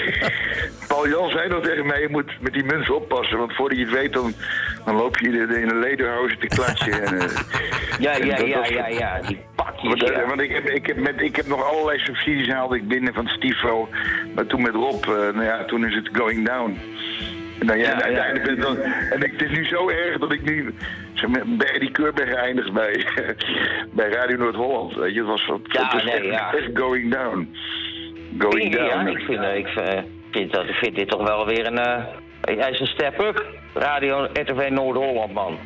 [SPEAKER 9] Paul Jan zei nog tegen mij, je moet met die muns oppassen, want voordat je het weet, dan, dan loop je in de- in een lederhozen te klatsen. en, eh,
[SPEAKER 11] Ja,
[SPEAKER 9] en
[SPEAKER 11] ja,
[SPEAKER 9] dat
[SPEAKER 11] ja,
[SPEAKER 9] was-
[SPEAKER 11] ja, ja, die pakjes.
[SPEAKER 9] Want, eh,
[SPEAKER 11] ja.
[SPEAKER 9] want ik, heb, ik, heb met, ik heb nog allerlei subsidies haalde ik binnen van Stifo. Maar toen met Rob, eh, nou ja, toen is het going down. En, dan, ja, en uiteindelijk ben ik dan, en ik, het is nu zo erg dat ik nu zeg maar, bij Eddie Keur ben geëindigd bij, bij Radio Noord-Holland. Weet je, het was, wat,
[SPEAKER 11] Ja,
[SPEAKER 9] het was
[SPEAKER 11] nee,
[SPEAKER 9] echt,
[SPEAKER 11] ja.
[SPEAKER 9] echt going down. Going
[SPEAKER 11] Ja,
[SPEAKER 9] down.
[SPEAKER 11] ik vind, eh, ik vind, eh, vind dat, ik vind dit toch wel weer een... eh, hij is een step-up. Radio RTV Noord-Holland, man.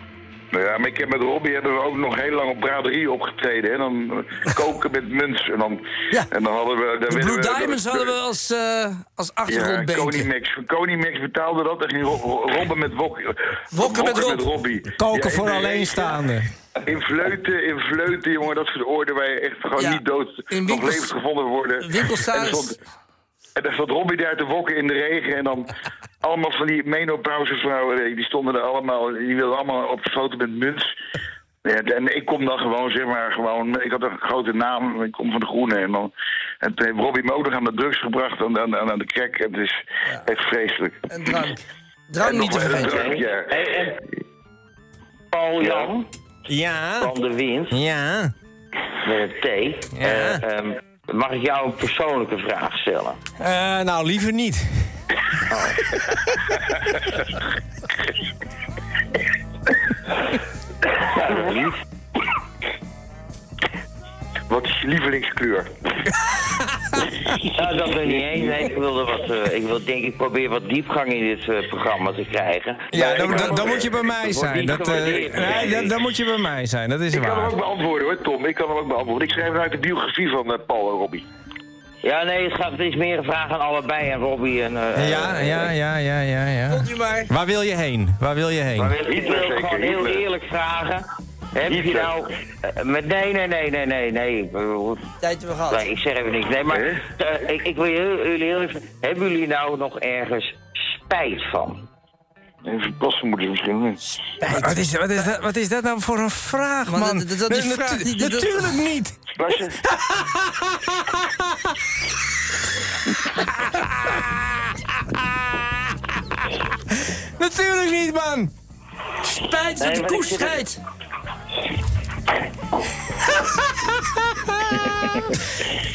[SPEAKER 9] Nou ja, maar ik heb met Robbie hebben we ook nog heel lang op braderie opgetreden. Hè? Dan eh, koken met muns. En dan, en dan hadden we... dan
[SPEAKER 5] De
[SPEAKER 9] werden
[SPEAKER 5] Blue
[SPEAKER 9] we-
[SPEAKER 5] Diamonds hadden we als, eh als
[SPEAKER 9] Ja,
[SPEAKER 5] achtergrondbeentje.
[SPEAKER 9] Konimax. Konimax betaalde dat en ging ro- ro- robben met Wok- Wokken
[SPEAKER 5] met Rob.
[SPEAKER 9] Robbie.
[SPEAKER 8] Koken
[SPEAKER 9] Ja,
[SPEAKER 8] voor
[SPEAKER 9] in-
[SPEAKER 8] alleenstaanden.
[SPEAKER 9] In fleuten, in fleuten, jongen, dat soort orde waar je echt gewoon
[SPEAKER 5] Ja,
[SPEAKER 9] niet dood
[SPEAKER 5] in
[SPEAKER 9] nog
[SPEAKER 5] winkels-
[SPEAKER 9] levend gevonden worden.
[SPEAKER 5] winkelstaars.
[SPEAKER 9] En daar stond- En daar zat Robbie daar te wokken in de regen en dan allemaal van die menopauzevrouwen, weet je, die stonden er allemaal, die wilden allemaal op de foto met muts. Ja, en ik kom dan gewoon, zeg maar, gewoon, ik had een grote naam, ik kom van de Groene en dan, en toen heeft Robbie me ook nog aan de drugs gebracht, aan, aan, aan de crack, en het is echt vreselijk.
[SPEAKER 5] En drank. Drank
[SPEAKER 9] En
[SPEAKER 5] niet te
[SPEAKER 9] nog wel een
[SPEAKER 5] vergeten.
[SPEAKER 9] drank, ja.
[SPEAKER 11] Paul Jan
[SPEAKER 8] Ja.
[SPEAKER 11] van de Wind.
[SPEAKER 8] Ja.
[SPEAKER 11] Met een T. Eh, ehm, mag ik jou een persoonlijke vraag stellen?
[SPEAKER 8] Eh, nou, liever niet.
[SPEAKER 11] Ja, dat lief.
[SPEAKER 9] Wat is je lievelingskleur?
[SPEAKER 11] Nou, dat ben ik niet eens. Nee, ik wilde wat. eh, ik wil denk ik probeer wat diepgang in dit eh, programma te krijgen.
[SPEAKER 8] Ja,
[SPEAKER 11] Maar
[SPEAKER 8] dan,
[SPEAKER 11] ik-
[SPEAKER 8] dan, dan moet je bij mij
[SPEAKER 11] Wordt
[SPEAKER 8] zijn.
[SPEAKER 11] niet
[SPEAKER 8] Dat, eh,
[SPEAKER 11] gewaardeerd.
[SPEAKER 8] nee, dan, dan moet je bij mij zijn, dat is
[SPEAKER 9] Ik kan hem
[SPEAKER 8] waar.
[SPEAKER 9] ook beantwoorden hoor, Tom. Ik kan hem ook beantwoorden. Ik schrijf hem uit de biografie van eh, Paul en Robbie.
[SPEAKER 11] Ja, nee, het, gaat, het is meer een vraag aan allebei en Robbie en. eh,
[SPEAKER 8] Ja,
[SPEAKER 11] eh,
[SPEAKER 8] ja, ja, ja, ja, ja.
[SPEAKER 5] Komt u maar.
[SPEAKER 8] Waar wil je heen? Waar wil je heen?
[SPEAKER 11] Maar wil- ik wil
[SPEAKER 9] Hitler zeker,
[SPEAKER 11] gewoon heel
[SPEAKER 9] Hitler.
[SPEAKER 11] eerlijk vragen. Heb je
[SPEAKER 9] Hitler.
[SPEAKER 11] nou. eh, Met, nee, nee, nee, nee, nee, nee. Ik bedoel,
[SPEAKER 5] Tijd hebben we gehad.
[SPEAKER 11] Nee, ik zeg even niks. Nee, maar eh, ik, ik wil heel- jullie heel even. Hebben jullie nou nog ergens spijt van?
[SPEAKER 9] Even plassen moeten ze misschien. hè.
[SPEAKER 8] Wat is, wat, is dat, wat is dat nou voor een vraag,
[SPEAKER 5] Want
[SPEAKER 8] man?
[SPEAKER 5] dat- dat- dat die
[SPEAKER 8] Nee,
[SPEAKER 5] vraag
[SPEAKER 8] natu-
[SPEAKER 5] die- die- dat-
[SPEAKER 8] natuurlijk niet!
[SPEAKER 9] Plassen?
[SPEAKER 8] Natuurlijk niet, man!
[SPEAKER 5] Spijt dat
[SPEAKER 11] Nee,
[SPEAKER 5] de
[SPEAKER 11] maar
[SPEAKER 5] koe
[SPEAKER 11] ik zit er-
[SPEAKER 5] scheidt.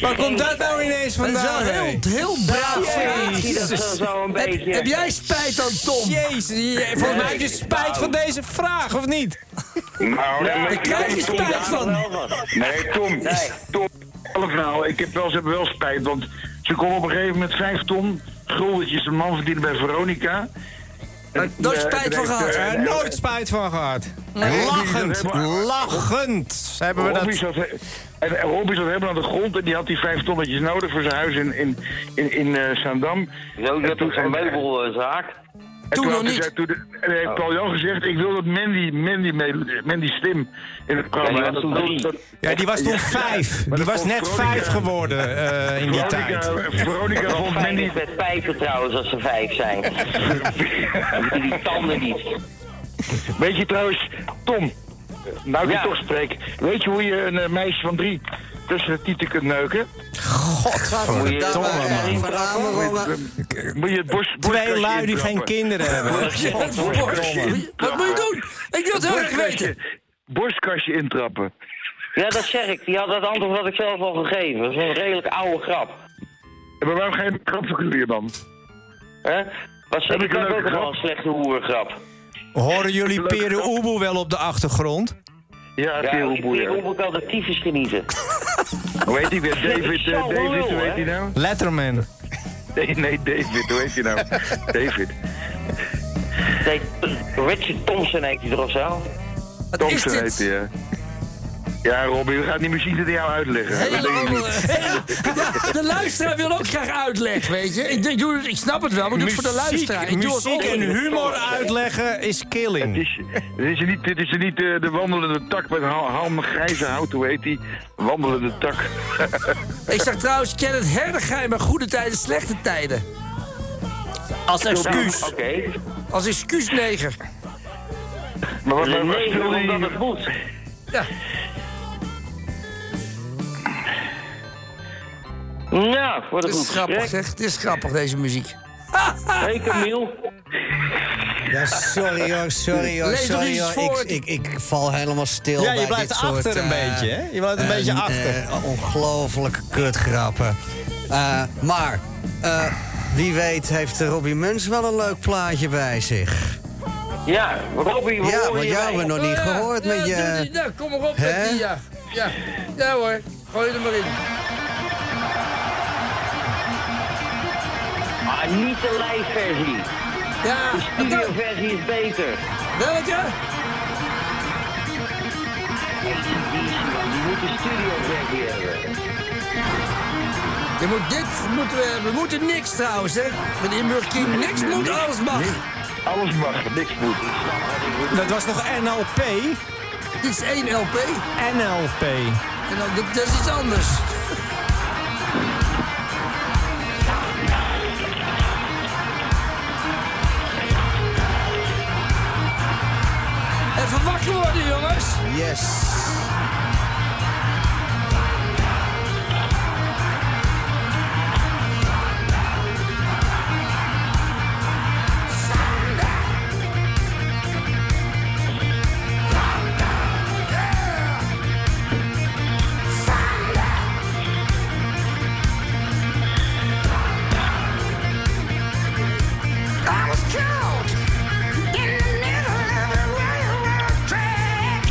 [SPEAKER 8] Waar komt dat nou ineens
[SPEAKER 5] Dat is
[SPEAKER 8] vandaan?
[SPEAKER 5] wel heel,
[SPEAKER 8] hè?
[SPEAKER 5] heel braaf van je.
[SPEAKER 11] Ja, zie dat zo- zo een beetje.
[SPEAKER 5] Heb jij spijt dan, Tom?
[SPEAKER 8] Jezus, je- volgens mij heb je spijt van deze vraag, of niet?
[SPEAKER 9] Nou, nee, maar
[SPEAKER 5] Daar krijg je
[SPEAKER 9] Tom,
[SPEAKER 5] spijt van.
[SPEAKER 9] Nee, Tom. Tom, zelf nou. Ik heb wel, ze hebben wel spijt, want ze kon op een gegeven moment vijf ton guldetjes een man verdienen bij Veronica. eh,
[SPEAKER 5] Maar nooit spijt van gehad.
[SPEAKER 8] Daar nooit spijt van gehad. Lachend, lachend hebben we
[SPEAKER 9] Robbie
[SPEAKER 8] dat.
[SPEAKER 9] zat, en, en Robbie zat helemaal aan de grond en die had die vijf tonnetjes nodig voor zijn huis in, in, in, in eh Zaandam.
[SPEAKER 11] Zo, je
[SPEAKER 9] En
[SPEAKER 11] hebt
[SPEAKER 9] toen-
[SPEAKER 11] ook zo'n eh, meubelzaak.
[SPEAKER 9] En
[SPEAKER 5] Toen nog
[SPEAKER 9] had hij
[SPEAKER 5] niet.
[SPEAKER 9] gezegd- toen de- en hij
[SPEAKER 11] Oh.
[SPEAKER 9] heeft Paul Jan gezegd, ik wil dat Mandy, Mandy, mee- Mandy Slim in het programma.
[SPEAKER 11] Ja, die was
[SPEAKER 9] En
[SPEAKER 11] toen drie.
[SPEAKER 8] Ja, die was toen vijf.
[SPEAKER 9] dat
[SPEAKER 8] Die was
[SPEAKER 9] vond
[SPEAKER 8] net
[SPEAKER 9] Veronica-
[SPEAKER 8] vijf geworden eh, in die
[SPEAKER 9] Veronica-
[SPEAKER 8] tijd.
[SPEAKER 9] Veronica
[SPEAKER 11] Wel
[SPEAKER 9] vond Mandy...
[SPEAKER 11] fijn met spijten trouwens als ze vijf zijn. Dan moeten die tanden niet.
[SPEAKER 9] Weet je trouwens, Tom, nou ik je
[SPEAKER 11] Ja.
[SPEAKER 9] toch spreek. Weet je hoe je een eh, meisje van drie tussen de tieten kunt neuken?
[SPEAKER 11] Moet je
[SPEAKER 1] Daar waar Erik van Amerongen-
[SPEAKER 9] Moet je het bos,
[SPEAKER 8] Twee lui die geen
[SPEAKER 9] kind.
[SPEAKER 8] kinderen hebben.
[SPEAKER 5] Wat moet je doen? Ik wil het heel erg weten.
[SPEAKER 9] Borstkastje, borstkastje intrappen.
[SPEAKER 11] Ja, dat zeg ik. Die had dat antwoord wat ik zelf al gegeven. Dat is een redelijk oude grap.
[SPEAKER 9] En waarom geen grap verkleuren dan?
[SPEAKER 11] Hè? Was
[SPEAKER 9] Heb
[SPEAKER 11] ik
[SPEAKER 9] ik een
[SPEAKER 11] dat
[SPEAKER 9] leuke
[SPEAKER 11] ook
[SPEAKER 9] grap?
[SPEAKER 11] wel een slechte hoergrap?
[SPEAKER 8] Horen jullie Peru Oeboe wel op de achtergrond?
[SPEAKER 9] Ja,
[SPEAKER 11] Ja,
[SPEAKER 9] Theo
[SPEAKER 11] ik
[SPEAKER 9] Boer.
[SPEAKER 11] moet ik altijd tyfus genieten.
[SPEAKER 9] Hoe heet die weer? David,
[SPEAKER 11] is
[SPEAKER 9] eh,
[SPEAKER 11] zo'n
[SPEAKER 9] David,
[SPEAKER 11] lul,
[SPEAKER 9] hoe heet
[SPEAKER 11] hè?
[SPEAKER 9] die nou?
[SPEAKER 8] Letterman.
[SPEAKER 9] Nee, nee, David, hoe heet die nou? David.
[SPEAKER 11] Nee, Richard Thompson heet hij er of zo.
[SPEAKER 5] Wat is
[SPEAKER 9] Thompson heet
[SPEAKER 5] dit?
[SPEAKER 9] die, hè? Ja, Robbie, we gaan die muziek tegen jou uitleggen.
[SPEAKER 5] Hele
[SPEAKER 9] Dat denk ik
[SPEAKER 5] andere-
[SPEAKER 9] niet.
[SPEAKER 5] Ja, de luisteraar wil ook graag uitleg, weet je. Ik, denk, doe, het- ik snap het wel, maar ik doe het voor de luisteraar. Ik doe het
[SPEAKER 8] muziek
[SPEAKER 5] ook.
[SPEAKER 8] en humor uitleggen is
[SPEAKER 9] Het
[SPEAKER 8] killing.
[SPEAKER 9] is, het is niet, dit is niet eh, de wandelende tak met ha- ham grijze hout, hoe heet die? Wandelende tak.
[SPEAKER 5] Ik zag trouwens Kenneth Herdegein bij goede tijden, slechte tijden.
[SPEAKER 8] Als
[SPEAKER 11] Nou,
[SPEAKER 8] excuus.
[SPEAKER 11] Oké.
[SPEAKER 5] Als excuus neger.
[SPEAKER 9] Maar wat
[SPEAKER 11] We
[SPEAKER 9] maar- maar
[SPEAKER 11] leven
[SPEAKER 9] stil die-
[SPEAKER 11] omdat het moet.
[SPEAKER 5] Ja.
[SPEAKER 11] Nou, wat een
[SPEAKER 5] Het is
[SPEAKER 11] goed
[SPEAKER 5] grappig,
[SPEAKER 11] gesprek.
[SPEAKER 5] zeg. Het is grappig, deze muziek.
[SPEAKER 11] Hey Camille.
[SPEAKER 1] Ja, sorry hoor, sorry hoor,
[SPEAKER 5] Lees nog
[SPEAKER 1] sorry
[SPEAKER 5] iets
[SPEAKER 1] hoor.
[SPEAKER 5] voor.
[SPEAKER 1] Ik, ik, ik val helemaal stil
[SPEAKER 8] Ja, je
[SPEAKER 1] bij dit
[SPEAKER 8] blijft
[SPEAKER 1] soort...
[SPEAKER 8] achter een
[SPEAKER 1] eh,
[SPEAKER 8] beetje, hè? Je blijft een
[SPEAKER 1] eh,
[SPEAKER 8] beetje
[SPEAKER 1] eh,
[SPEAKER 8] achter.
[SPEAKER 1] ongelooflijke kutgrappen. Eh, maar, eh, wie weet heeft Robbie Muns wel een leuk plaatje bij zich.
[SPEAKER 11] Ja, Robbie, we
[SPEAKER 1] Ja,
[SPEAKER 11] horen
[SPEAKER 1] want
[SPEAKER 11] je
[SPEAKER 1] jou
[SPEAKER 11] bij.
[SPEAKER 1] hebben we nog niet gehoord met
[SPEAKER 5] Oh Ja, Eh, doe
[SPEAKER 1] je...
[SPEAKER 5] die- nou, kom maar op
[SPEAKER 1] Hè?
[SPEAKER 5] met die, ja. Ja, ja hoor. Gooi er maar in.
[SPEAKER 11] Ah, niet de live-versie.
[SPEAKER 5] Ja,
[SPEAKER 11] De
[SPEAKER 5] wat dan?
[SPEAKER 11] studio-versie is beter.
[SPEAKER 5] Welke?
[SPEAKER 11] Je moet de studio-versie hebben.
[SPEAKER 5] Je moet dit, moeten we, we moeten niks trouwens, hè. Met de Inburg King, niks moet, alles mag.
[SPEAKER 9] Alles mag, niks moet.
[SPEAKER 8] Dat was nog NLP?
[SPEAKER 5] Dit is één LP
[SPEAKER 8] NLP.
[SPEAKER 5] en dan, dit, dat is iets anders. Even wakker worden, jongens.
[SPEAKER 1] Yes.
[SPEAKER 7] I was caught in the middle of a railroad track.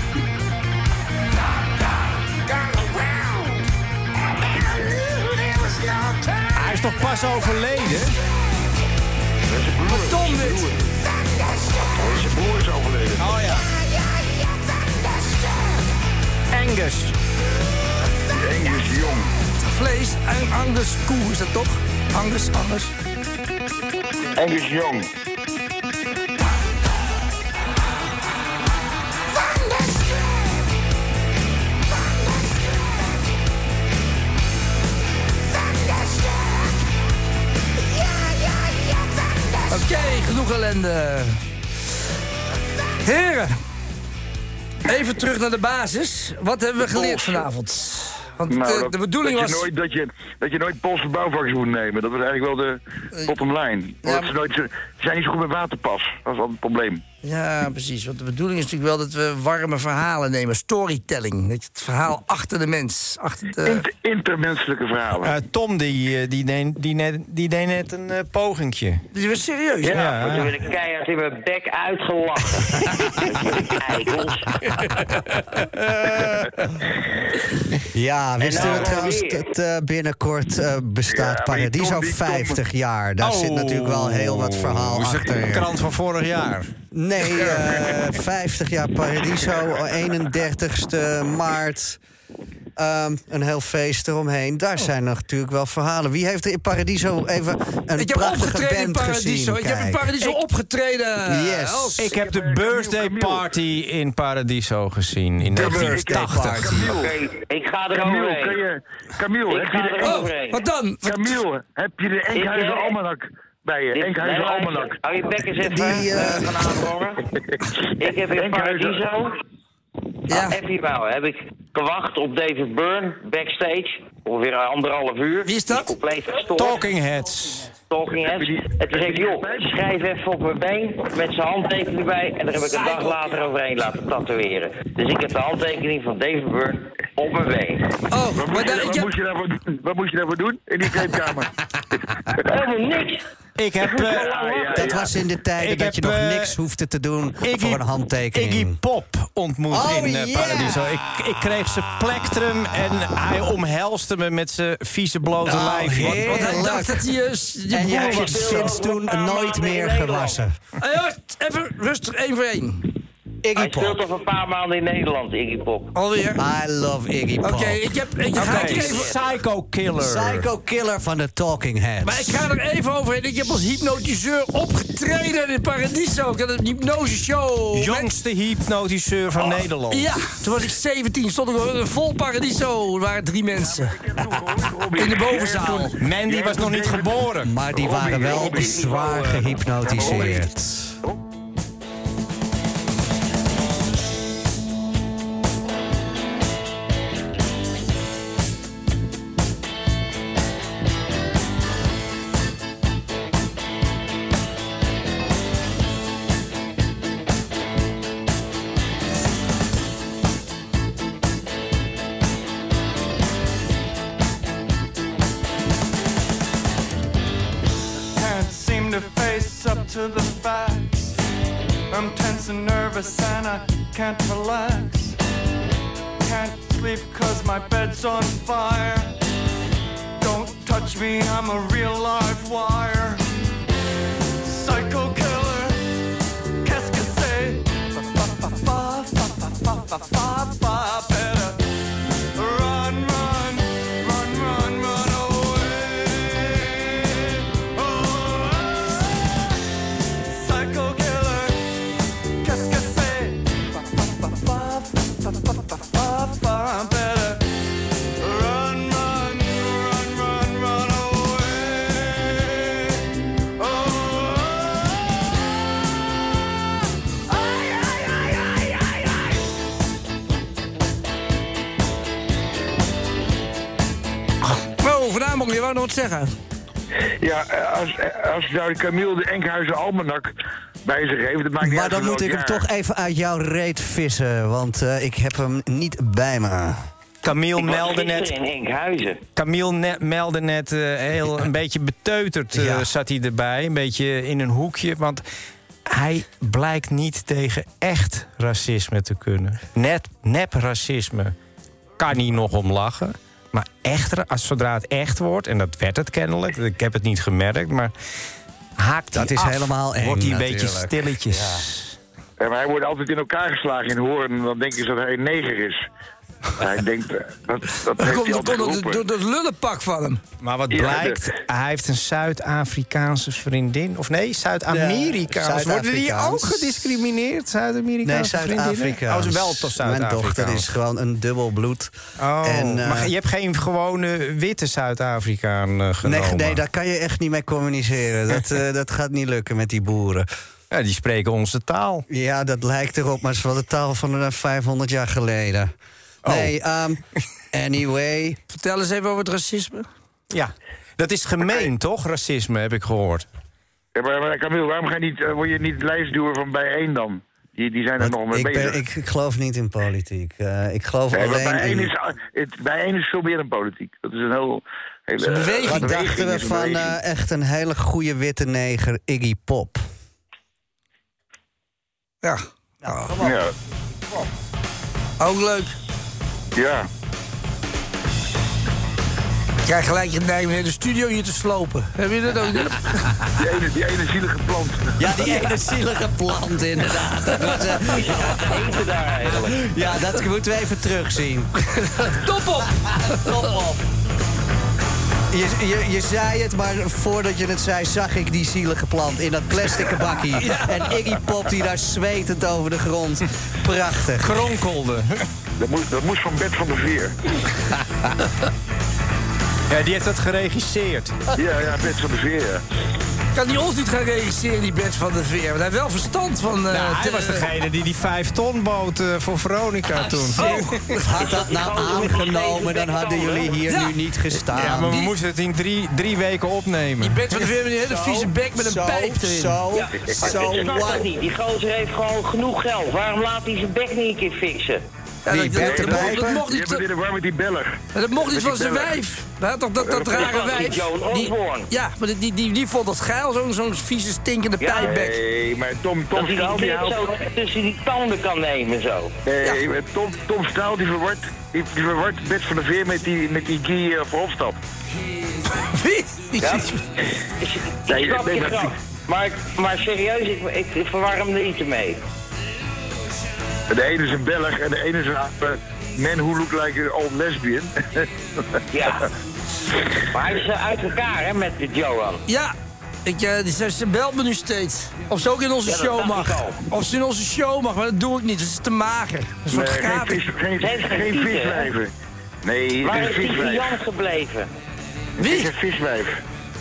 [SPEAKER 7] Gone around, and I knew there was no turning
[SPEAKER 8] Hij is toch pas overleden?
[SPEAKER 5] Tom dit.
[SPEAKER 9] Zijn broer is overleden.
[SPEAKER 8] Oh ja. Angus.
[SPEAKER 9] Angus Jong.
[SPEAKER 5] Vlees en Angus koe, is dat toch? Angus, Angus.
[SPEAKER 9] Angus Jong.
[SPEAKER 5] Oké, genoeg ellende. Heren, even terug naar de basis. Wat hebben we geleerd vanavond? Want
[SPEAKER 9] Nou,
[SPEAKER 5] eh,
[SPEAKER 9] dat-
[SPEAKER 5] de bedoeling
[SPEAKER 9] dat je
[SPEAKER 5] was...
[SPEAKER 9] Nooit, dat, je, dat je nooit Poolse bouwvakkers moet nemen. Dat was eigenlijk wel de bottom line. Want
[SPEAKER 5] maar-
[SPEAKER 9] ze, nooit, ze zijn niet zo goed met waterpas. Dat is altijd het probleem.
[SPEAKER 5] Ja, precies. Want de bedoeling is natuurlijk wel dat we warme verhalen nemen. Storytelling. Dat je het verhaal achter de mens. Achter de...
[SPEAKER 9] Inter- intermenselijke verhalen.
[SPEAKER 8] Eh, Tom, die, eh, die, deed, die, net, die deed net een eh, pogingtje.
[SPEAKER 5] Die was serieus. hè?
[SPEAKER 8] Ja.
[SPEAKER 11] Ja, want toen werd ik keihard in mijn bek uitgelachen. Eikels.
[SPEAKER 1] Ja, wisten
[SPEAKER 11] nou
[SPEAKER 1] we trouwens
[SPEAKER 11] alweer.
[SPEAKER 1] dat eh, binnenkort eh, bestaat
[SPEAKER 9] Ja, maar die
[SPEAKER 1] Paradiso
[SPEAKER 9] Tom, die Tom-
[SPEAKER 1] 50 jaar. Daar zit natuurlijk wel heel wat verhaal
[SPEAKER 8] Hoe Oh. is het?
[SPEAKER 1] achter.
[SPEAKER 8] krant van vorig jaar.
[SPEAKER 1] Nee, eh, 50 jaar Paradiso, 31ste maart. Ehm, een heel feest eromheen. Daar zijn natuurlijk wel verhalen. Wie heeft er in Paradiso even een
[SPEAKER 5] Ik heb
[SPEAKER 1] prachtige
[SPEAKER 5] opgetreden in
[SPEAKER 1] band
[SPEAKER 5] Paradiso.
[SPEAKER 1] gezien?
[SPEAKER 5] Ik heb in
[SPEAKER 1] Kijk.
[SPEAKER 5] Paradiso opgetreden. Oh.
[SPEAKER 1] Yes.
[SPEAKER 5] Als-
[SPEAKER 8] Ik heb de birthday party in Paradiso gezien in
[SPEAKER 9] birthday
[SPEAKER 8] 1980.
[SPEAKER 9] Camille,
[SPEAKER 11] Ik ga er
[SPEAKER 9] Camille, kan
[SPEAKER 11] overheen.
[SPEAKER 9] je, Camille,
[SPEAKER 11] Oh, Ik
[SPEAKER 9] heb
[SPEAKER 11] ga
[SPEAKER 9] je de,
[SPEAKER 11] er
[SPEAKER 9] Enk-
[SPEAKER 5] Oh, wat dan? Wat-
[SPEAKER 9] Camille, heb je de Enkhuizen
[SPEAKER 11] eh,
[SPEAKER 9] Almanak bij je?
[SPEAKER 11] Dit-
[SPEAKER 9] Enkhuizen
[SPEAKER 11] nee, luister.
[SPEAKER 9] Almanak.
[SPEAKER 11] Hou je bek eens even
[SPEAKER 1] Die, eh,
[SPEAKER 11] eh, van aanhoren. Ik heb in
[SPEAKER 9] Enkhuizen-
[SPEAKER 11] Paradiso, Nou,
[SPEAKER 5] Ja.
[SPEAKER 11] Happy Bouw, heb ik gewacht op David Byrne, backstage. Ongeveer anderhalf uur.
[SPEAKER 5] Wie is dat?
[SPEAKER 11] Compleet gestoord.
[SPEAKER 8] Talking Heads.
[SPEAKER 11] Talking Heads. En toen zei ik, joh, schrijf even op mijn been met zijn handtekening erbij. En daar heb ik een dag later overheen laten tatoeëren. Dus ik heb de handtekening van David Byrne op mijn been.
[SPEAKER 5] Oh,
[SPEAKER 9] Wat
[SPEAKER 5] maar
[SPEAKER 9] moest,
[SPEAKER 5] dan,
[SPEAKER 9] je,
[SPEAKER 5] ik
[SPEAKER 9] wat,
[SPEAKER 5] heb-
[SPEAKER 9] moest je daarvoor, doen? wat moest je daarvoor doen in die kleedkamer?
[SPEAKER 11] Helemaal niks.
[SPEAKER 8] Ik heb eh,
[SPEAKER 1] Dat was in de tijden
[SPEAKER 8] Ik
[SPEAKER 1] dat je
[SPEAKER 8] heb,
[SPEAKER 1] nog
[SPEAKER 8] eh,
[SPEAKER 1] niks hoefde te doen
[SPEAKER 8] Iggy,
[SPEAKER 1] voor een handtekening.
[SPEAKER 8] Iggy Pop ontmoet
[SPEAKER 1] Oh,
[SPEAKER 8] in eh,
[SPEAKER 1] yeah.
[SPEAKER 8] Paradiso. Ik, ik kreeg zijn plectrum en hij omhelste me met zijn vieze blote
[SPEAKER 1] Oh,
[SPEAKER 8] lijf. Wat-
[SPEAKER 1] heerlijk.
[SPEAKER 5] Want hij dacht dat hij eh, s- die
[SPEAKER 1] en jij
[SPEAKER 5] broer
[SPEAKER 1] hebt
[SPEAKER 5] was.
[SPEAKER 1] sinds toen nooit meer gewassen.
[SPEAKER 5] Hey, jongens, even rustig, één voor één.
[SPEAKER 1] Iggy
[SPEAKER 11] Hij speelt
[SPEAKER 1] Pop.
[SPEAKER 11] toch een paar maanden in Nederland, Iggy Pop.
[SPEAKER 5] Alweer.
[SPEAKER 1] I love Iggy Pop.
[SPEAKER 5] Oké, ik heb... Ik
[SPEAKER 8] Oké,
[SPEAKER 5] ga er even...
[SPEAKER 8] Psycho Killer.
[SPEAKER 1] Psycho killer van de Talking Heads.
[SPEAKER 5] Maar ik ga er even overheen. Ik heb als hypnotiseur opgetreden in Paradiso. Ik had een hypnoseshow. met-
[SPEAKER 8] Jongste hypnotiseur van
[SPEAKER 1] Oh,
[SPEAKER 8] Nederland.
[SPEAKER 5] Ja, toen was ik 17. Stond ik op een vol Paradiso. Er waren drie mensen. In de bovenzaal.
[SPEAKER 8] Mandy was nog niet geboren.
[SPEAKER 1] Maar die waren wel zwaar gehypnotiseerd.
[SPEAKER 13] to the facts. I'm tense and nervous and I can't relax. Can't sleep cause my bed's on fire. Don't touch me, I'm a real live wire. Psycho killer, qu'est-ce que c'est? Fa, fa, fa, fa, fa, fa, fa, fa, fa, better. Run, run, run, run, run away. Psycho killer, qu'est-ce que c'est? Fa, fa, fa, fa, fa, fa, fa, fa, fa, better. Run, run, run, run, run away.
[SPEAKER 5] oh,
[SPEAKER 13] Oh, ay, ay, ay, ay, ay, ay.
[SPEAKER 5] Nou, vanavond je wou nog wat zeggen.
[SPEAKER 9] Ja, eh, als, eh, als nou Camille de Enkhuizen Almanak bij zich heeft, dat maakt niet
[SPEAKER 1] Maar
[SPEAKER 9] uit
[SPEAKER 1] dan
[SPEAKER 9] van
[SPEAKER 1] moet
[SPEAKER 9] welk
[SPEAKER 1] ik hem
[SPEAKER 9] jaar.
[SPEAKER 1] toch even uit jouw reet vissen, want eh, ik heb hem niet bij me.
[SPEAKER 8] Camille
[SPEAKER 1] Ik was
[SPEAKER 8] meldde net.
[SPEAKER 1] gisteren in
[SPEAKER 8] Camille ne- meldde net eh, heel een beetje beteuterd eh, zat hij erbij. Een beetje in een hoekje. Want hij blijkt niet tegen echt racisme te kunnen. Net, nep racisme kan hij nog om lachen. Maar echt, ra- als, zodra het echt wordt, en dat werd het kennelijk, ik heb het niet gemerkt, maar haakt
[SPEAKER 1] Dat
[SPEAKER 8] hij
[SPEAKER 1] is
[SPEAKER 8] af,
[SPEAKER 1] helemaal eng,
[SPEAKER 8] Wordt hij een beetje
[SPEAKER 1] natuurlijk.
[SPEAKER 8] stilletjes.
[SPEAKER 9] Ja, maar hij wordt altijd in elkaar geslagen in horen en dan denken ze dat hij een neger is. Maar hij denkt, eh,
[SPEAKER 5] Dat
[SPEAKER 9] dat, dat heeft
[SPEAKER 5] komt
[SPEAKER 9] hij
[SPEAKER 5] dat
[SPEAKER 9] altijd
[SPEAKER 5] komt door-
[SPEAKER 9] geroepen.
[SPEAKER 5] door dat lullenpak van hem.
[SPEAKER 8] Maar wat
[SPEAKER 9] Ja,
[SPEAKER 8] blijkt,
[SPEAKER 9] de-
[SPEAKER 8] hij heeft een Zuid-Afrikaanse vriendin. Of nee, Zuid-Amerikaans.
[SPEAKER 1] Ja,
[SPEAKER 8] Worden die
[SPEAKER 1] Zuid-Afrikaans.
[SPEAKER 8] ook gediscrimineerd,
[SPEAKER 1] Nee,
[SPEAKER 8] Zuid-Amerikaanse
[SPEAKER 1] Zuid-Afrika.
[SPEAKER 8] vriendinnen? Oh, ze wel tot
[SPEAKER 1] Mijn
[SPEAKER 8] Zuid-Afrika.
[SPEAKER 1] dochter is gewoon een dubbelbloed.
[SPEAKER 8] Oh,
[SPEAKER 1] En, eh,
[SPEAKER 8] maar je hebt geen gewone witte Zuid-Afrikaan eh, genomen?
[SPEAKER 1] nee, nee, daar kan je echt niet mee communiceren. Dat, eh, dat gaat niet lukken met die boeren.
[SPEAKER 8] Ja, die spreken onze taal.
[SPEAKER 1] Ja, dat lijkt erop, maar het is wel de taal van eh, 500 jaar geleden.
[SPEAKER 8] Oh.
[SPEAKER 1] Nee, ehm, anyway.
[SPEAKER 5] Vertel eens even over het racisme.
[SPEAKER 8] Ja, dat is gemeen, toch? Racisme, heb ik gehoord.
[SPEAKER 9] Ja, maar, maar Camille, waarom ga je niet, eh, word je niet lijstduwer van bijeen dan? Die, die zijn er nog mee
[SPEAKER 1] Ik,
[SPEAKER 9] bezig.
[SPEAKER 1] ben, ik, ik geloof niet in politiek. Eh, ik geloof
[SPEAKER 9] Nee, maar
[SPEAKER 1] alleen
[SPEAKER 9] bijeen,
[SPEAKER 1] in...
[SPEAKER 9] is, het, bijeen is veel meer dan politiek. Dat is een heel... hele-
[SPEAKER 1] Zo'n beweging.
[SPEAKER 9] een beweging
[SPEAKER 1] dachten we
[SPEAKER 9] is een
[SPEAKER 1] van
[SPEAKER 9] beweging.
[SPEAKER 1] eh, echt een hele goede witte neger, Iggy Pop.
[SPEAKER 5] Ja.
[SPEAKER 9] ja.
[SPEAKER 5] Ook leuk.
[SPEAKER 9] ja.
[SPEAKER 5] Ik krijg gelijk je neiging om in de studio hier te slopen. Heb je dat ook niet?
[SPEAKER 9] Die ene, die ene zielige plant.
[SPEAKER 1] Ja, die ene zielige plant inderdaad. Dat was, eh, ja, dat moeten we even terugzien.
[SPEAKER 5] Top op!
[SPEAKER 1] Top op! Je, je, je zei het, maar voordat je het zei zag ik die zielige plant in dat plastic bakkie. En Iggy Pop die daar zwetend over de grond. Prachtig.
[SPEAKER 8] Kronkelde.
[SPEAKER 9] Dat moest, dat moest van Bert van der Veer.
[SPEAKER 8] Ja, die heeft dat geregisseerd.
[SPEAKER 9] Ja, ja, Bert van der Veer, ja.
[SPEAKER 5] Kan die ons niet gaan regisseren, die Bert van der Veer? Want hij heeft wel verstand van... eh,
[SPEAKER 8] nou, hij
[SPEAKER 5] te-
[SPEAKER 8] was degene die die vijf ton bood eh, voor
[SPEAKER 1] Ah,
[SPEAKER 8] Veronica toen.
[SPEAKER 5] oh,
[SPEAKER 1] Had dat nou aangenomen, dan hadden jullie hier
[SPEAKER 5] Ja.
[SPEAKER 1] nu niet gestaan.
[SPEAKER 8] Ja, maar we moesten het in drie, drie weken opnemen.
[SPEAKER 5] Bert van der Veer met een hele vieze bek met een
[SPEAKER 1] zo,
[SPEAKER 5] pijp erin.
[SPEAKER 1] Zo,
[SPEAKER 11] Ja,
[SPEAKER 1] zo,
[SPEAKER 11] ik snap
[SPEAKER 1] wauw.
[SPEAKER 11] dat niet. Die gozer heeft gewoon genoeg geld. Waarom laat hij zijn bek niet een keer fixen?
[SPEAKER 5] Ja,
[SPEAKER 1] Wie,
[SPEAKER 5] dat, dat,
[SPEAKER 1] Bert
[SPEAKER 5] dat,
[SPEAKER 1] de
[SPEAKER 5] mocht- dat
[SPEAKER 1] Pijper?
[SPEAKER 5] mocht
[SPEAKER 9] Je
[SPEAKER 5] niet,
[SPEAKER 9] hebt het in
[SPEAKER 5] dat,
[SPEAKER 9] de war met die beller.
[SPEAKER 5] dat mocht niet
[SPEAKER 9] Met
[SPEAKER 5] van
[SPEAKER 9] die
[SPEAKER 5] zijn
[SPEAKER 9] beller.
[SPEAKER 5] wijf. Hij had toch dat, dat
[SPEAKER 9] Eh,
[SPEAKER 5] rare
[SPEAKER 11] dat was die
[SPEAKER 5] wijf.
[SPEAKER 11] Joan
[SPEAKER 5] Die-
[SPEAKER 11] Osborne.
[SPEAKER 5] ja, maar die, die, die, die vond dat geil, zo'n zo'n vieze stinkende
[SPEAKER 11] Ja.
[SPEAKER 5] pijpbek.
[SPEAKER 9] Nee, maar Tom, Tom
[SPEAKER 11] Dat hij
[SPEAKER 9] Staal
[SPEAKER 11] die
[SPEAKER 9] die
[SPEAKER 11] kip
[SPEAKER 9] houdt...
[SPEAKER 11] zo tussen die tanden kan nemen zo.
[SPEAKER 9] Nee, maar Tom, Tom Staal die verwart, die, die verwart Bert van der Veer met die, met die Guy eh, Verhofstadt.
[SPEAKER 5] Wie?
[SPEAKER 11] Ja?
[SPEAKER 9] Nee,
[SPEAKER 11] Ik Dus snap
[SPEAKER 9] nee,
[SPEAKER 11] je
[SPEAKER 9] maar-
[SPEAKER 11] grap. Maar, ik- maar serieus, ik, ik verwar hem er iets mee.
[SPEAKER 9] De ene is een Belg en de ene is een eh, man who look like an old lesbian.
[SPEAKER 11] Ja. Maar hij is eh, uit elkaar, hè, met de Johan.
[SPEAKER 5] Ja, ik, eh, die- ze, ze belt me nu steeds. Of ze ook in onze
[SPEAKER 11] Ja, dat
[SPEAKER 5] show
[SPEAKER 11] dacht ik
[SPEAKER 5] mag.
[SPEAKER 11] al.
[SPEAKER 5] Of ze in onze show mag, maar dat doe ik niet. Dat is te mager. Dat is
[SPEAKER 9] Nee,
[SPEAKER 5] wat
[SPEAKER 9] geen,
[SPEAKER 5] gratis.
[SPEAKER 9] vis, geen,
[SPEAKER 11] Hij heeft geen
[SPEAKER 9] geen
[SPEAKER 11] tieten, hè?
[SPEAKER 9] viswijven. Nee,
[SPEAKER 11] Waar
[SPEAKER 9] het is
[SPEAKER 11] is die
[SPEAKER 9] een viswijf.
[SPEAKER 11] Vian gebleven?
[SPEAKER 9] Het is een viswijf.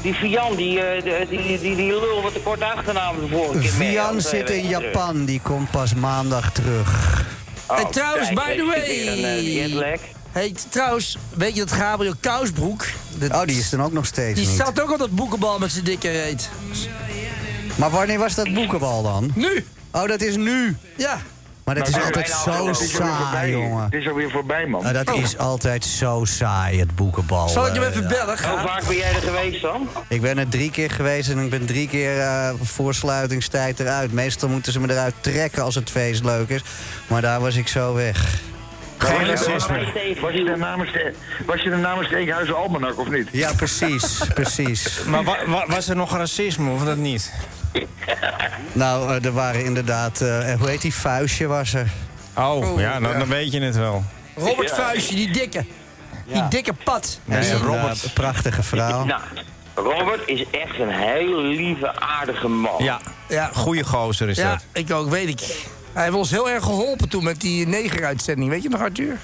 [SPEAKER 11] Die Vian, die, eh, de- die, die, die, lul wat de korte achternaam de vorige keer mee had,
[SPEAKER 1] Vian
[SPEAKER 11] eh,
[SPEAKER 1] zit in
[SPEAKER 11] weet je terug.
[SPEAKER 1] Japan, die komt pas maandag terug.
[SPEAKER 11] Oh,
[SPEAKER 5] en trouwens,
[SPEAKER 11] kijk,
[SPEAKER 5] by the
[SPEAKER 11] weet
[SPEAKER 5] way.
[SPEAKER 11] je, weer een, eh, jetlag.
[SPEAKER 5] Hey, trouwens, weet je dat Gabriel Kousbroek... dat-
[SPEAKER 1] Oh, die is dan ook nog steeds
[SPEAKER 5] Die
[SPEAKER 1] niet.
[SPEAKER 5] zat ook al dat boekenbal met zijn dikke reet.
[SPEAKER 1] Maar wanneer was dat boekenbal dan?
[SPEAKER 5] Nu?
[SPEAKER 1] Oh, dat is nu.
[SPEAKER 5] Ja.
[SPEAKER 1] Maar dat
[SPEAKER 9] Nou,
[SPEAKER 1] is
[SPEAKER 9] het
[SPEAKER 1] altijd
[SPEAKER 9] bijna
[SPEAKER 1] zo
[SPEAKER 9] afgelopen. Het is alweer
[SPEAKER 1] saai,
[SPEAKER 9] voorbij.
[SPEAKER 1] jongen.
[SPEAKER 9] Het is alweer voorbij, man.
[SPEAKER 1] Ah, dat is altijd zo saai, het boekenbal.
[SPEAKER 9] Zal ik
[SPEAKER 1] je
[SPEAKER 9] hem even bellen, Hoe Gaaf? vaak ben jij er geweest dan?
[SPEAKER 1] Ik ben er drie keer geweest en ik ben drie keer eh, voor sluitingstijd eruit. Meestal moeten ze me eruit trekken als het feest leuk is. Maar daar was ik zo weg. Oh,
[SPEAKER 9] Was je- Was je er namens de- was je er namens de Eekhuizen Almanak of niet?
[SPEAKER 1] Ja, precies, precies.
[SPEAKER 8] Maar wa- wa- was er nog racisme of dat niet?
[SPEAKER 1] Nou, eh, er waren inderdaad... eh, hoe heet die? Vuistje was er.
[SPEAKER 8] Oh, ja, dan, dan weet je het wel.
[SPEAKER 5] Robert Vuistje, die dikke. Die dikke pad.
[SPEAKER 1] Nee,
[SPEAKER 5] Die-
[SPEAKER 1] een, eh, prachtige vrouw.
[SPEAKER 11] Nou, Robert is echt een heel lieve, aardige man.
[SPEAKER 8] Ja, ja goede gozer is
[SPEAKER 5] ja,
[SPEAKER 8] dat.
[SPEAKER 5] ik ook, weet ik. Hij heeft ons heel erg geholpen toen met die negeruitzending. Weet je nog, Arthur?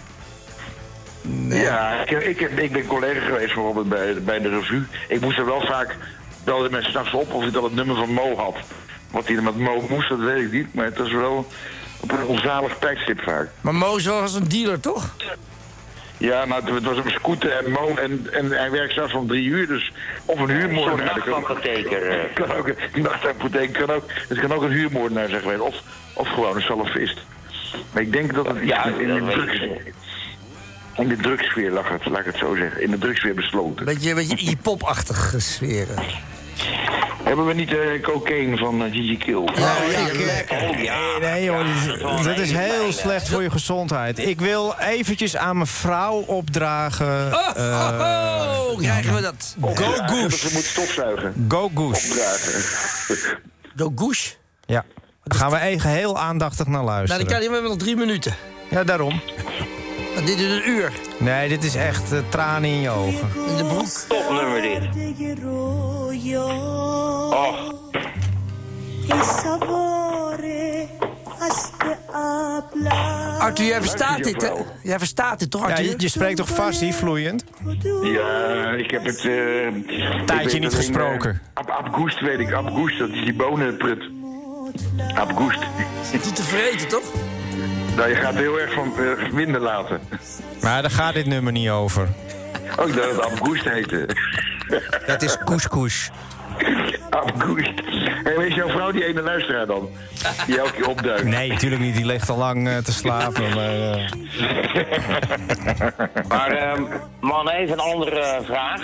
[SPEAKER 9] Ja, ik, heb- ik, heb- ik ben collega geweest voor Robert bij, bij de revue. Ik moest er wel vaak, belde mensen s'nachts op of ik al het nummer van Mo had. Wat hij er met Mo moest, dat weet ik niet. Maar het was wel op een onzalig tijdstip vaak.
[SPEAKER 5] Maar Moos was een dealer, toch?
[SPEAKER 9] Ja, nou, het, het was een scooter en Mo en, en hij werkt zelfs om drie uur, dus... Of een
[SPEAKER 11] Zo'n
[SPEAKER 9] huurmoordenaar.
[SPEAKER 11] nachtbankapotheker. eh.
[SPEAKER 9] kan ook, een nachtappotheek kan ook, het kan ook een huurmoordenaar zijn geweest. Of, of gewoon een salafist. Maar ik denk dat het iets
[SPEAKER 11] Ja,
[SPEAKER 9] in, in
[SPEAKER 11] dat
[SPEAKER 9] de
[SPEAKER 11] weet
[SPEAKER 9] drugs... In de drugsfeer lag het, laat ik het zo zeggen. In de drugsfeer besloten.
[SPEAKER 5] Beetje, beetje hip-hop-achtige sferen.
[SPEAKER 9] Hebben we niet eh cocaïne van eh, Gigi Kill? Oh
[SPEAKER 8] Oh, ja,
[SPEAKER 9] lekker.
[SPEAKER 8] Nee joh, dat, dat is heel slecht voor je gezondheid. Ik wil eventjes aan mijn vrouw opdragen...
[SPEAKER 5] Oh, oh,
[SPEAKER 8] eh,
[SPEAKER 5] oh, krijgen we dat. Go
[SPEAKER 9] Ze
[SPEAKER 5] Goose.
[SPEAKER 9] moet stofzuigen.
[SPEAKER 8] Go Goose.
[SPEAKER 9] Opdragen.
[SPEAKER 5] Go Goose?
[SPEAKER 8] Ja, daar gaan we even heel aandachtig naar
[SPEAKER 5] Nou,
[SPEAKER 8] luisteren.
[SPEAKER 5] dan kan je hebben nog drie minuten.
[SPEAKER 8] Ja, daarom.
[SPEAKER 5] Want Dit is een uur.
[SPEAKER 8] Nee, dit is echt eh, tranen in je ogen.
[SPEAKER 5] In de broek.
[SPEAKER 11] Topnummer dit.
[SPEAKER 9] Oh,
[SPEAKER 5] Arthur, jij verstaat dit, hè? Jij verstaat dit, toch,
[SPEAKER 8] Ja,
[SPEAKER 5] Arthur?
[SPEAKER 8] je, je spreekt toch vast hier vloeiend?
[SPEAKER 9] ja, ik heb het... eh
[SPEAKER 8] Tijdje
[SPEAKER 9] ik
[SPEAKER 8] niet
[SPEAKER 9] weet dat
[SPEAKER 8] gesproken.
[SPEAKER 9] een, eh, Ab- Abgoest weet ik. Abgoest, dat is die bonenprut. Abgoest.
[SPEAKER 5] Zit die te vreten, toch?
[SPEAKER 9] Nou, je gaat er heel erg van eh, minder laten.
[SPEAKER 8] Maar daar gaat dit nummer niet over.
[SPEAKER 9] Ook dat het Abgoest heette.
[SPEAKER 1] Dat is couscous.
[SPEAKER 9] Abgoest. En is jouw vrouw die ene luisteraar dan? Die elke keer opduikt.
[SPEAKER 8] Nee, natuurlijk niet. Die ligt al lang eh, te slapen. Maar, eh,
[SPEAKER 11] Maar ehm, man, even een andere eh, vraag.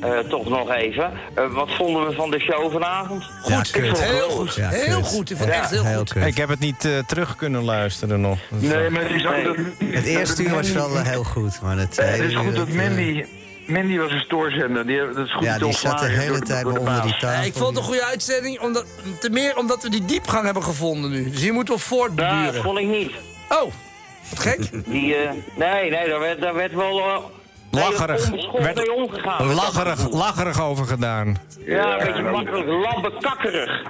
[SPEAKER 11] Eh, toch nog even. Eh, wat vonden we van de show vanavond?
[SPEAKER 8] Ja,
[SPEAKER 5] Goed,
[SPEAKER 8] kut.
[SPEAKER 5] heel goed.
[SPEAKER 1] Ja,
[SPEAKER 5] heel
[SPEAKER 1] kut.
[SPEAKER 5] goed. Ik vond het echt heel, goed.
[SPEAKER 8] ik heb het niet eh, terug kunnen luisteren nog.
[SPEAKER 9] Nee, maar het is ook dat...
[SPEAKER 1] Het eerste uur was wel eh, heel goed, maar het
[SPEAKER 9] Eh,
[SPEAKER 1] tweede
[SPEAKER 9] Het is goed
[SPEAKER 1] uur,
[SPEAKER 9] dat
[SPEAKER 1] eh,
[SPEAKER 9] Mandy... Mandy was een stoorzender. Die, dat is goed
[SPEAKER 1] Ja, die zat de
[SPEAKER 9] ontslagen
[SPEAKER 1] hele
[SPEAKER 9] door de-
[SPEAKER 1] tijd
[SPEAKER 9] door de
[SPEAKER 1] onder
[SPEAKER 9] baas.
[SPEAKER 1] die tafel.
[SPEAKER 5] Ja, ik vond het een goede uitzending, omdat, te meer omdat we die diepgang hebben gevonden nu. Dus hier moeten we
[SPEAKER 11] Nou, dat
[SPEAKER 5] voortduren.
[SPEAKER 11] vond ik niet.
[SPEAKER 5] Oh, wat gek.
[SPEAKER 11] Die, eh, nee, nee, daar werd, daar werd wel... eh,
[SPEAKER 8] Lacherig.
[SPEAKER 11] onbeschoft
[SPEAKER 8] Werd-
[SPEAKER 11] mee omgegaan.
[SPEAKER 8] Lacherig, lacherig over gedaan.
[SPEAKER 11] Ja, een beetje makkelijk. Labbekakkerig.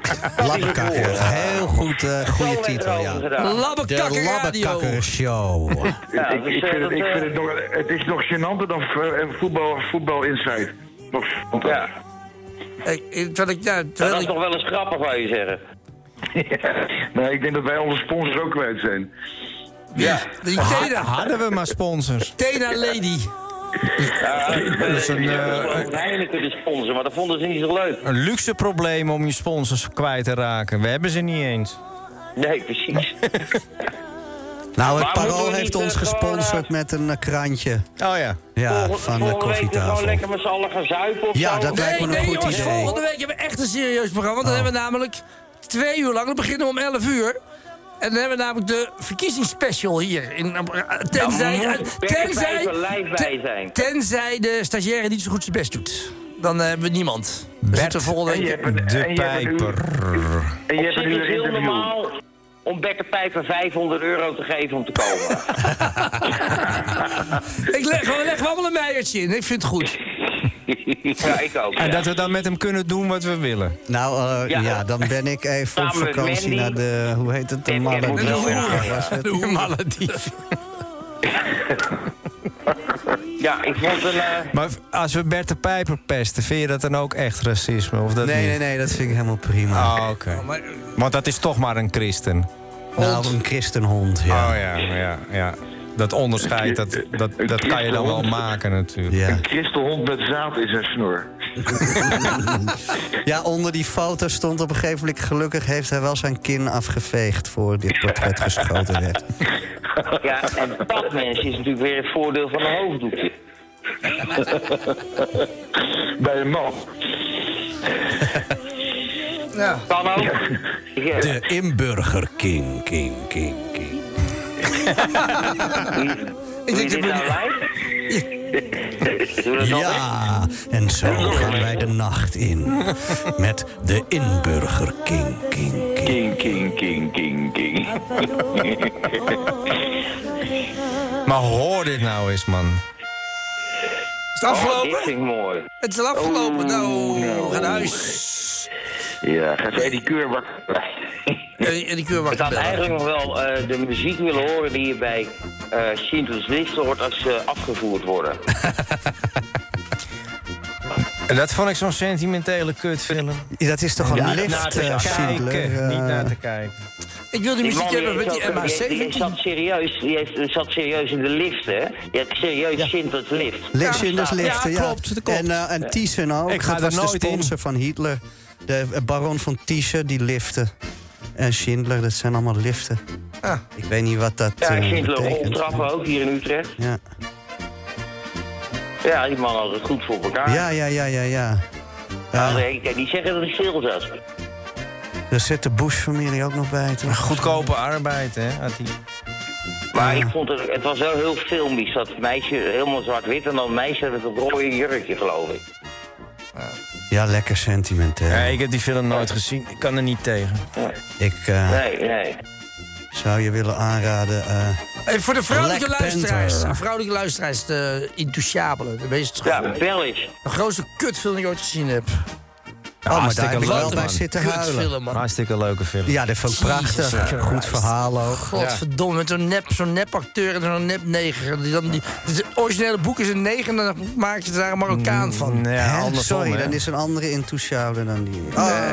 [SPEAKER 1] Labbekakker. Heel goed, eh, goede titel, ja. De
[SPEAKER 5] Labbekakker radio.
[SPEAKER 1] Labbekakker Show.
[SPEAKER 11] Ja,
[SPEAKER 9] ik,
[SPEAKER 11] dus,
[SPEAKER 9] ik
[SPEAKER 11] eh,
[SPEAKER 9] vind
[SPEAKER 11] dat,
[SPEAKER 9] het, ik
[SPEAKER 11] eh,
[SPEAKER 9] vind het, nog, het is nog gênanter dan eh, voetbal, voetbal Insight. Nog gênanter.
[SPEAKER 11] Ja,
[SPEAKER 5] Hey, eh, terwijl ik, nou, terwijl
[SPEAKER 11] dat is
[SPEAKER 5] ik,
[SPEAKER 11] nog wel eens grappig, wou je zeggen.
[SPEAKER 9] nee, ik denk dat wij onze sponsors ook kwijt zijn.
[SPEAKER 5] ja, die Tena,
[SPEAKER 8] Hadden we maar sponsors.
[SPEAKER 5] Tena Lady.
[SPEAKER 11] dat
[SPEAKER 8] is een, eh,
[SPEAKER 11] Heineken de sponsor, maar dat vonden ze niet zo leuk.
[SPEAKER 8] Een luxe probleem om je sponsors kwijt te raken. We hebben ze niet eens.
[SPEAKER 11] Nee, precies.
[SPEAKER 1] Nou, het
[SPEAKER 11] Maar moeten
[SPEAKER 1] Parool
[SPEAKER 11] we
[SPEAKER 1] heeft
[SPEAKER 11] niet,
[SPEAKER 1] ons
[SPEAKER 11] eh, gewoon,
[SPEAKER 1] gesponsord met een eh, krantje.
[SPEAKER 8] Oh ja.
[SPEAKER 1] Ja,
[SPEAKER 11] Volgende-
[SPEAKER 1] van de
[SPEAKER 11] volgende week weer gewoon
[SPEAKER 1] koffietafel.
[SPEAKER 11] lekker met z'n allen gaan zuipen of
[SPEAKER 1] Ja,
[SPEAKER 11] zo.
[SPEAKER 1] dat lijkt me
[SPEAKER 5] Nee,
[SPEAKER 1] een
[SPEAKER 5] nee,
[SPEAKER 1] goed
[SPEAKER 5] jongens,
[SPEAKER 1] idee. Oh.
[SPEAKER 5] volgende week hebben we echt een serieus programma. Want dan hebben we namelijk twee uur lang, dan beginnen we om 11 uur. En dan hebben we namelijk de verkiezingsspecial hier. In, eh, tenzij, eh,
[SPEAKER 11] Dan moet Bert
[SPEAKER 5] tenzij,
[SPEAKER 11] er lijf bij zijn.
[SPEAKER 5] tenzij de stagiaire niet zo goed zijn best doet. Dan eh, hebben we niemand. We zitten volgende
[SPEAKER 9] En je
[SPEAKER 5] week.
[SPEAKER 9] hebt een,
[SPEAKER 8] De
[SPEAKER 9] en je hebt een uur-
[SPEAKER 8] pijper.
[SPEAKER 9] en je
[SPEAKER 11] Op
[SPEAKER 9] hebt een
[SPEAKER 11] zich is het
[SPEAKER 9] uur
[SPEAKER 11] heel
[SPEAKER 9] interview.
[SPEAKER 11] normaal om bekkenpijpen 500 euro te geven om te komen.
[SPEAKER 5] Ik leg, we leggen allemaal een meijertje in. Ik vind het goed.
[SPEAKER 11] ja, ik ook.
[SPEAKER 8] En
[SPEAKER 11] ja.
[SPEAKER 8] dat we dan met hem kunnen doen wat we willen.
[SPEAKER 1] Nou, eh,
[SPEAKER 11] Ja.
[SPEAKER 1] ja, dan ben ik even op
[SPEAKER 11] Samen met
[SPEAKER 1] vakantie
[SPEAKER 11] Mandy.
[SPEAKER 1] naar de... Hoe heet het? De
[SPEAKER 11] En- en
[SPEAKER 1] Malediven.
[SPEAKER 11] moet wel weer gaan, ja.
[SPEAKER 1] Was het?
[SPEAKER 5] De Maledief.
[SPEAKER 11] Ja, ik vond een... eh,
[SPEAKER 8] Maar als we Bert de Pijper pesten, vind je dat dan ook echt racisme? Of dat
[SPEAKER 1] Nee,
[SPEAKER 8] niet?
[SPEAKER 1] nee, nee, dat vind ik helemaal prima.
[SPEAKER 11] Ah,
[SPEAKER 8] Oh, oké. Want dat is toch maar een christen.
[SPEAKER 11] Ah,
[SPEAKER 1] Nou, een christenhond, ja.
[SPEAKER 8] Oh ja, ja, ja. dat onderscheid, dat, dat, dat kan je dan wel maken natuurlijk.
[SPEAKER 9] Een christelhond met zaad in zijn snor.
[SPEAKER 1] Ja, onder die foto stond op een gegeven moment... gelukkig heeft hij wel zijn kin afgeveegd... voor dit portret geschoten werd.
[SPEAKER 11] Ja, en dat mensen is natuurlijk weer het voordeel van een hoofddoekje.
[SPEAKER 9] Bij een man.
[SPEAKER 11] Ja. Kan ook.
[SPEAKER 2] De Inburger King, King, King, King.
[SPEAKER 7] Ik denk
[SPEAKER 11] dit
[SPEAKER 7] dat
[SPEAKER 11] nou
[SPEAKER 1] Ja, en zo gaan wij de nacht in. Met de Inburger King.
[SPEAKER 7] King, king, king, king, king.
[SPEAKER 8] Maar hoor dit nou eens, man.
[SPEAKER 5] Is het afgelopen?
[SPEAKER 11] dit vind ik mooi.
[SPEAKER 5] Het is al afgelopen.
[SPEAKER 11] Oh,
[SPEAKER 5] nou, we gaan naar huis.
[SPEAKER 9] Ja, geef Eddie Keurback.
[SPEAKER 5] En die keur
[SPEAKER 11] Ik had eigenlijk nog wel eh, de muziek willen horen die je bij eh Schindler's List hoort als ze afgevoerd worden.
[SPEAKER 8] En dat vond ik zo'n sentimentele kutfilm.
[SPEAKER 1] Dat is toch een lift, eh, Schindler,
[SPEAKER 8] kijken,
[SPEAKER 1] eh.
[SPEAKER 8] niet naar te kijken.
[SPEAKER 5] Ik wil die muziek hebben met die
[SPEAKER 11] MH17. eh, Die,
[SPEAKER 5] MH17.
[SPEAKER 11] zat serieus, die, heeft, die zat serieus in de lift, hè? Je hebt serieus Schindler's Lift.
[SPEAKER 1] Lift in dus liften, ja. En, eh en
[SPEAKER 11] Ja.
[SPEAKER 1] Thyssen ook.
[SPEAKER 11] Ik
[SPEAKER 1] Ik
[SPEAKER 11] ga
[SPEAKER 1] ga dat
[SPEAKER 11] daar
[SPEAKER 1] was
[SPEAKER 11] nooit
[SPEAKER 1] de
[SPEAKER 11] in.
[SPEAKER 1] sponsor van Hitler. De eh, baron van Thyssen, die liften. En Schindler, dat zijn allemaal liften. Ik weet niet wat dat
[SPEAKER 11] Ah. Ja,
[SPEAKER 1] eh,
[SPEAKER 11] Schindler
[SPEAKER 1] betekent.
[SPEAKER 11] roltrappen ook hier in Utrecht.
[SPEAKER 1] Ja.
[SPEAKER 11] Ja, die man had het goed voor elkaar.
[SPEAKER 1] Ja, ja, ja, ja, ja.
[SPEAKER 11] Nou, nee, ik kan niet zeggen dat ik stil zat.
[SPEAKER 1] Daar zit de Bush-familie ook nog bij. toch?
[SPEAKER 8] Goedkope arbeid, hè, had die.
[SPEAKER 11] Maar ik vond het, het was wel heel filmisch. Dat meisje helemaal zwart-wit en dat meisje had het rode jurkje, geloof ik.
[SPEAKER 1] Ja, lekker sentimenteel.
[SPEAKER 8] Nee, ik heb die film nooit gezien. Ik kan er niet tegen.
[SPEAKER 1] Oh, Ik eh,
[SPEAKER 11] Nee, nee.
[SPEAKER 1] zou je willen aanraden... eh,
[SPEAKER 5] Hey, voor de vrouwelijke
[SPEAKER 1] Black
[SPEAKER 5] luisteraars.
[SPEAKER 1] Panther.
[SPEAKER 5] De vrouwelijke luisteraars, de Intouchable. De meest
[SPEAKER 11] Ja, wel eens.
[SPEAKER 5] De grootste kutfilm die ik ooit gezien heb.
[SPEAKER 1] Oh, maar
[SPEAKER 8] hartstikke
[SPEAKER 1] daar heb ik wel
[SPEAKER 8] leuk,
[SPEAKER 1] bij
[SPEAKER 8] man.
[SPEAKER 1] zitten
[SPEAKER 5] Kutfilm,
[SPEAKER 1] huilen.
[SPEAKER 5] man.
[SPEAKER 8] Hartstikke leuke film.
[SPEAKER 1] ja, dat vond ik prachtig.
[SPEAKER 5] Jesus Christ.
[SPEAKER 1] Goed verhaal ook.
[SPEAKER 5] Godverdomme, met zo'n nep, zo'n nep acteur en zo'n nep neger. Die dan die, het originele boek is een neger en dan maak je daar een Marokkaan van.
[SPEAKER 1] Hè? Sorry, dan is een andere in toeschouder dan die. Oh,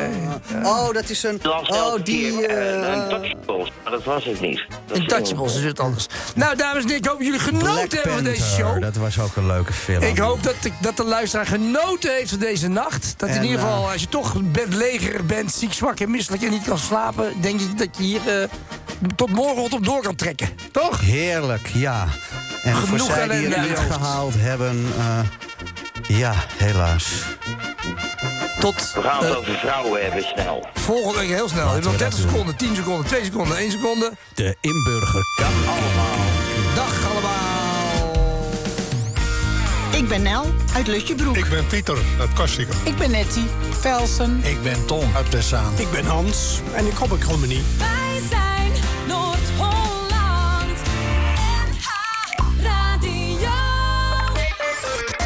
[SPEAKER 1] oh, dat is een... Oh, die... eh,
[SPEAKER 11] Touchables, maar dat was het niet.
[SPEAKER 5] Intouchables is het anders. Nou, dames en heren, ik hoop dat jullie genoten hebben van deze
[SPEAKER 1] Panther,
[SPEAKER 5] show.
[SPEAKER 1] Dat was ook een leuke film.
[SPEAKER 5] Ik hoop dat, ik- dat de luisteraar genoten heeft van deze nacht. Dat in
[SPEAKER 1] En,
[SPEAKER 5] ieder geval,
[SPEAKER 1] eh,
[SPEAKER 5] als je toch bedlegerig bent, ziek, zwak en misselijk en niet kan slapen, denk ik dat je hier eh, tot morgen op door kan trekken. Toch?
[SPEAKER 1] Heerlijk, ja. En
[SPEAKER 5] Genoeg
[SPEAKER 1] voor zij die het
[SPEAKER 5] ellende aan
[SPEAKER 1] niet
[SPEAKER 5] je hoofd.
[SPEAKER 1] gehaald hebben... eh, ja, helaas.
[SPEAKER 5] Tot...
[SPEAKER 11] We gaan het over vrouwen hebben, snel.
[SPEAKER 5] Volgende week heel snel. Je hebt nog 30 seconden, 10 seconden, 2 seconden, 1 seconde.
[SPEAKER 1] De inburger
[SPEAKER 5] Dag allemaal.
[SPEAKER 14] Ik ben Nel uit Lutjebroek. Ik ben Pieter uit Kastrikum. Ik ben Nettie Velsen.
[SPEAKER 2] Ik ben Tom uit Tessaan.
[SPEAKER 15] Ik ben Hans en ik hoop ik kom er niet.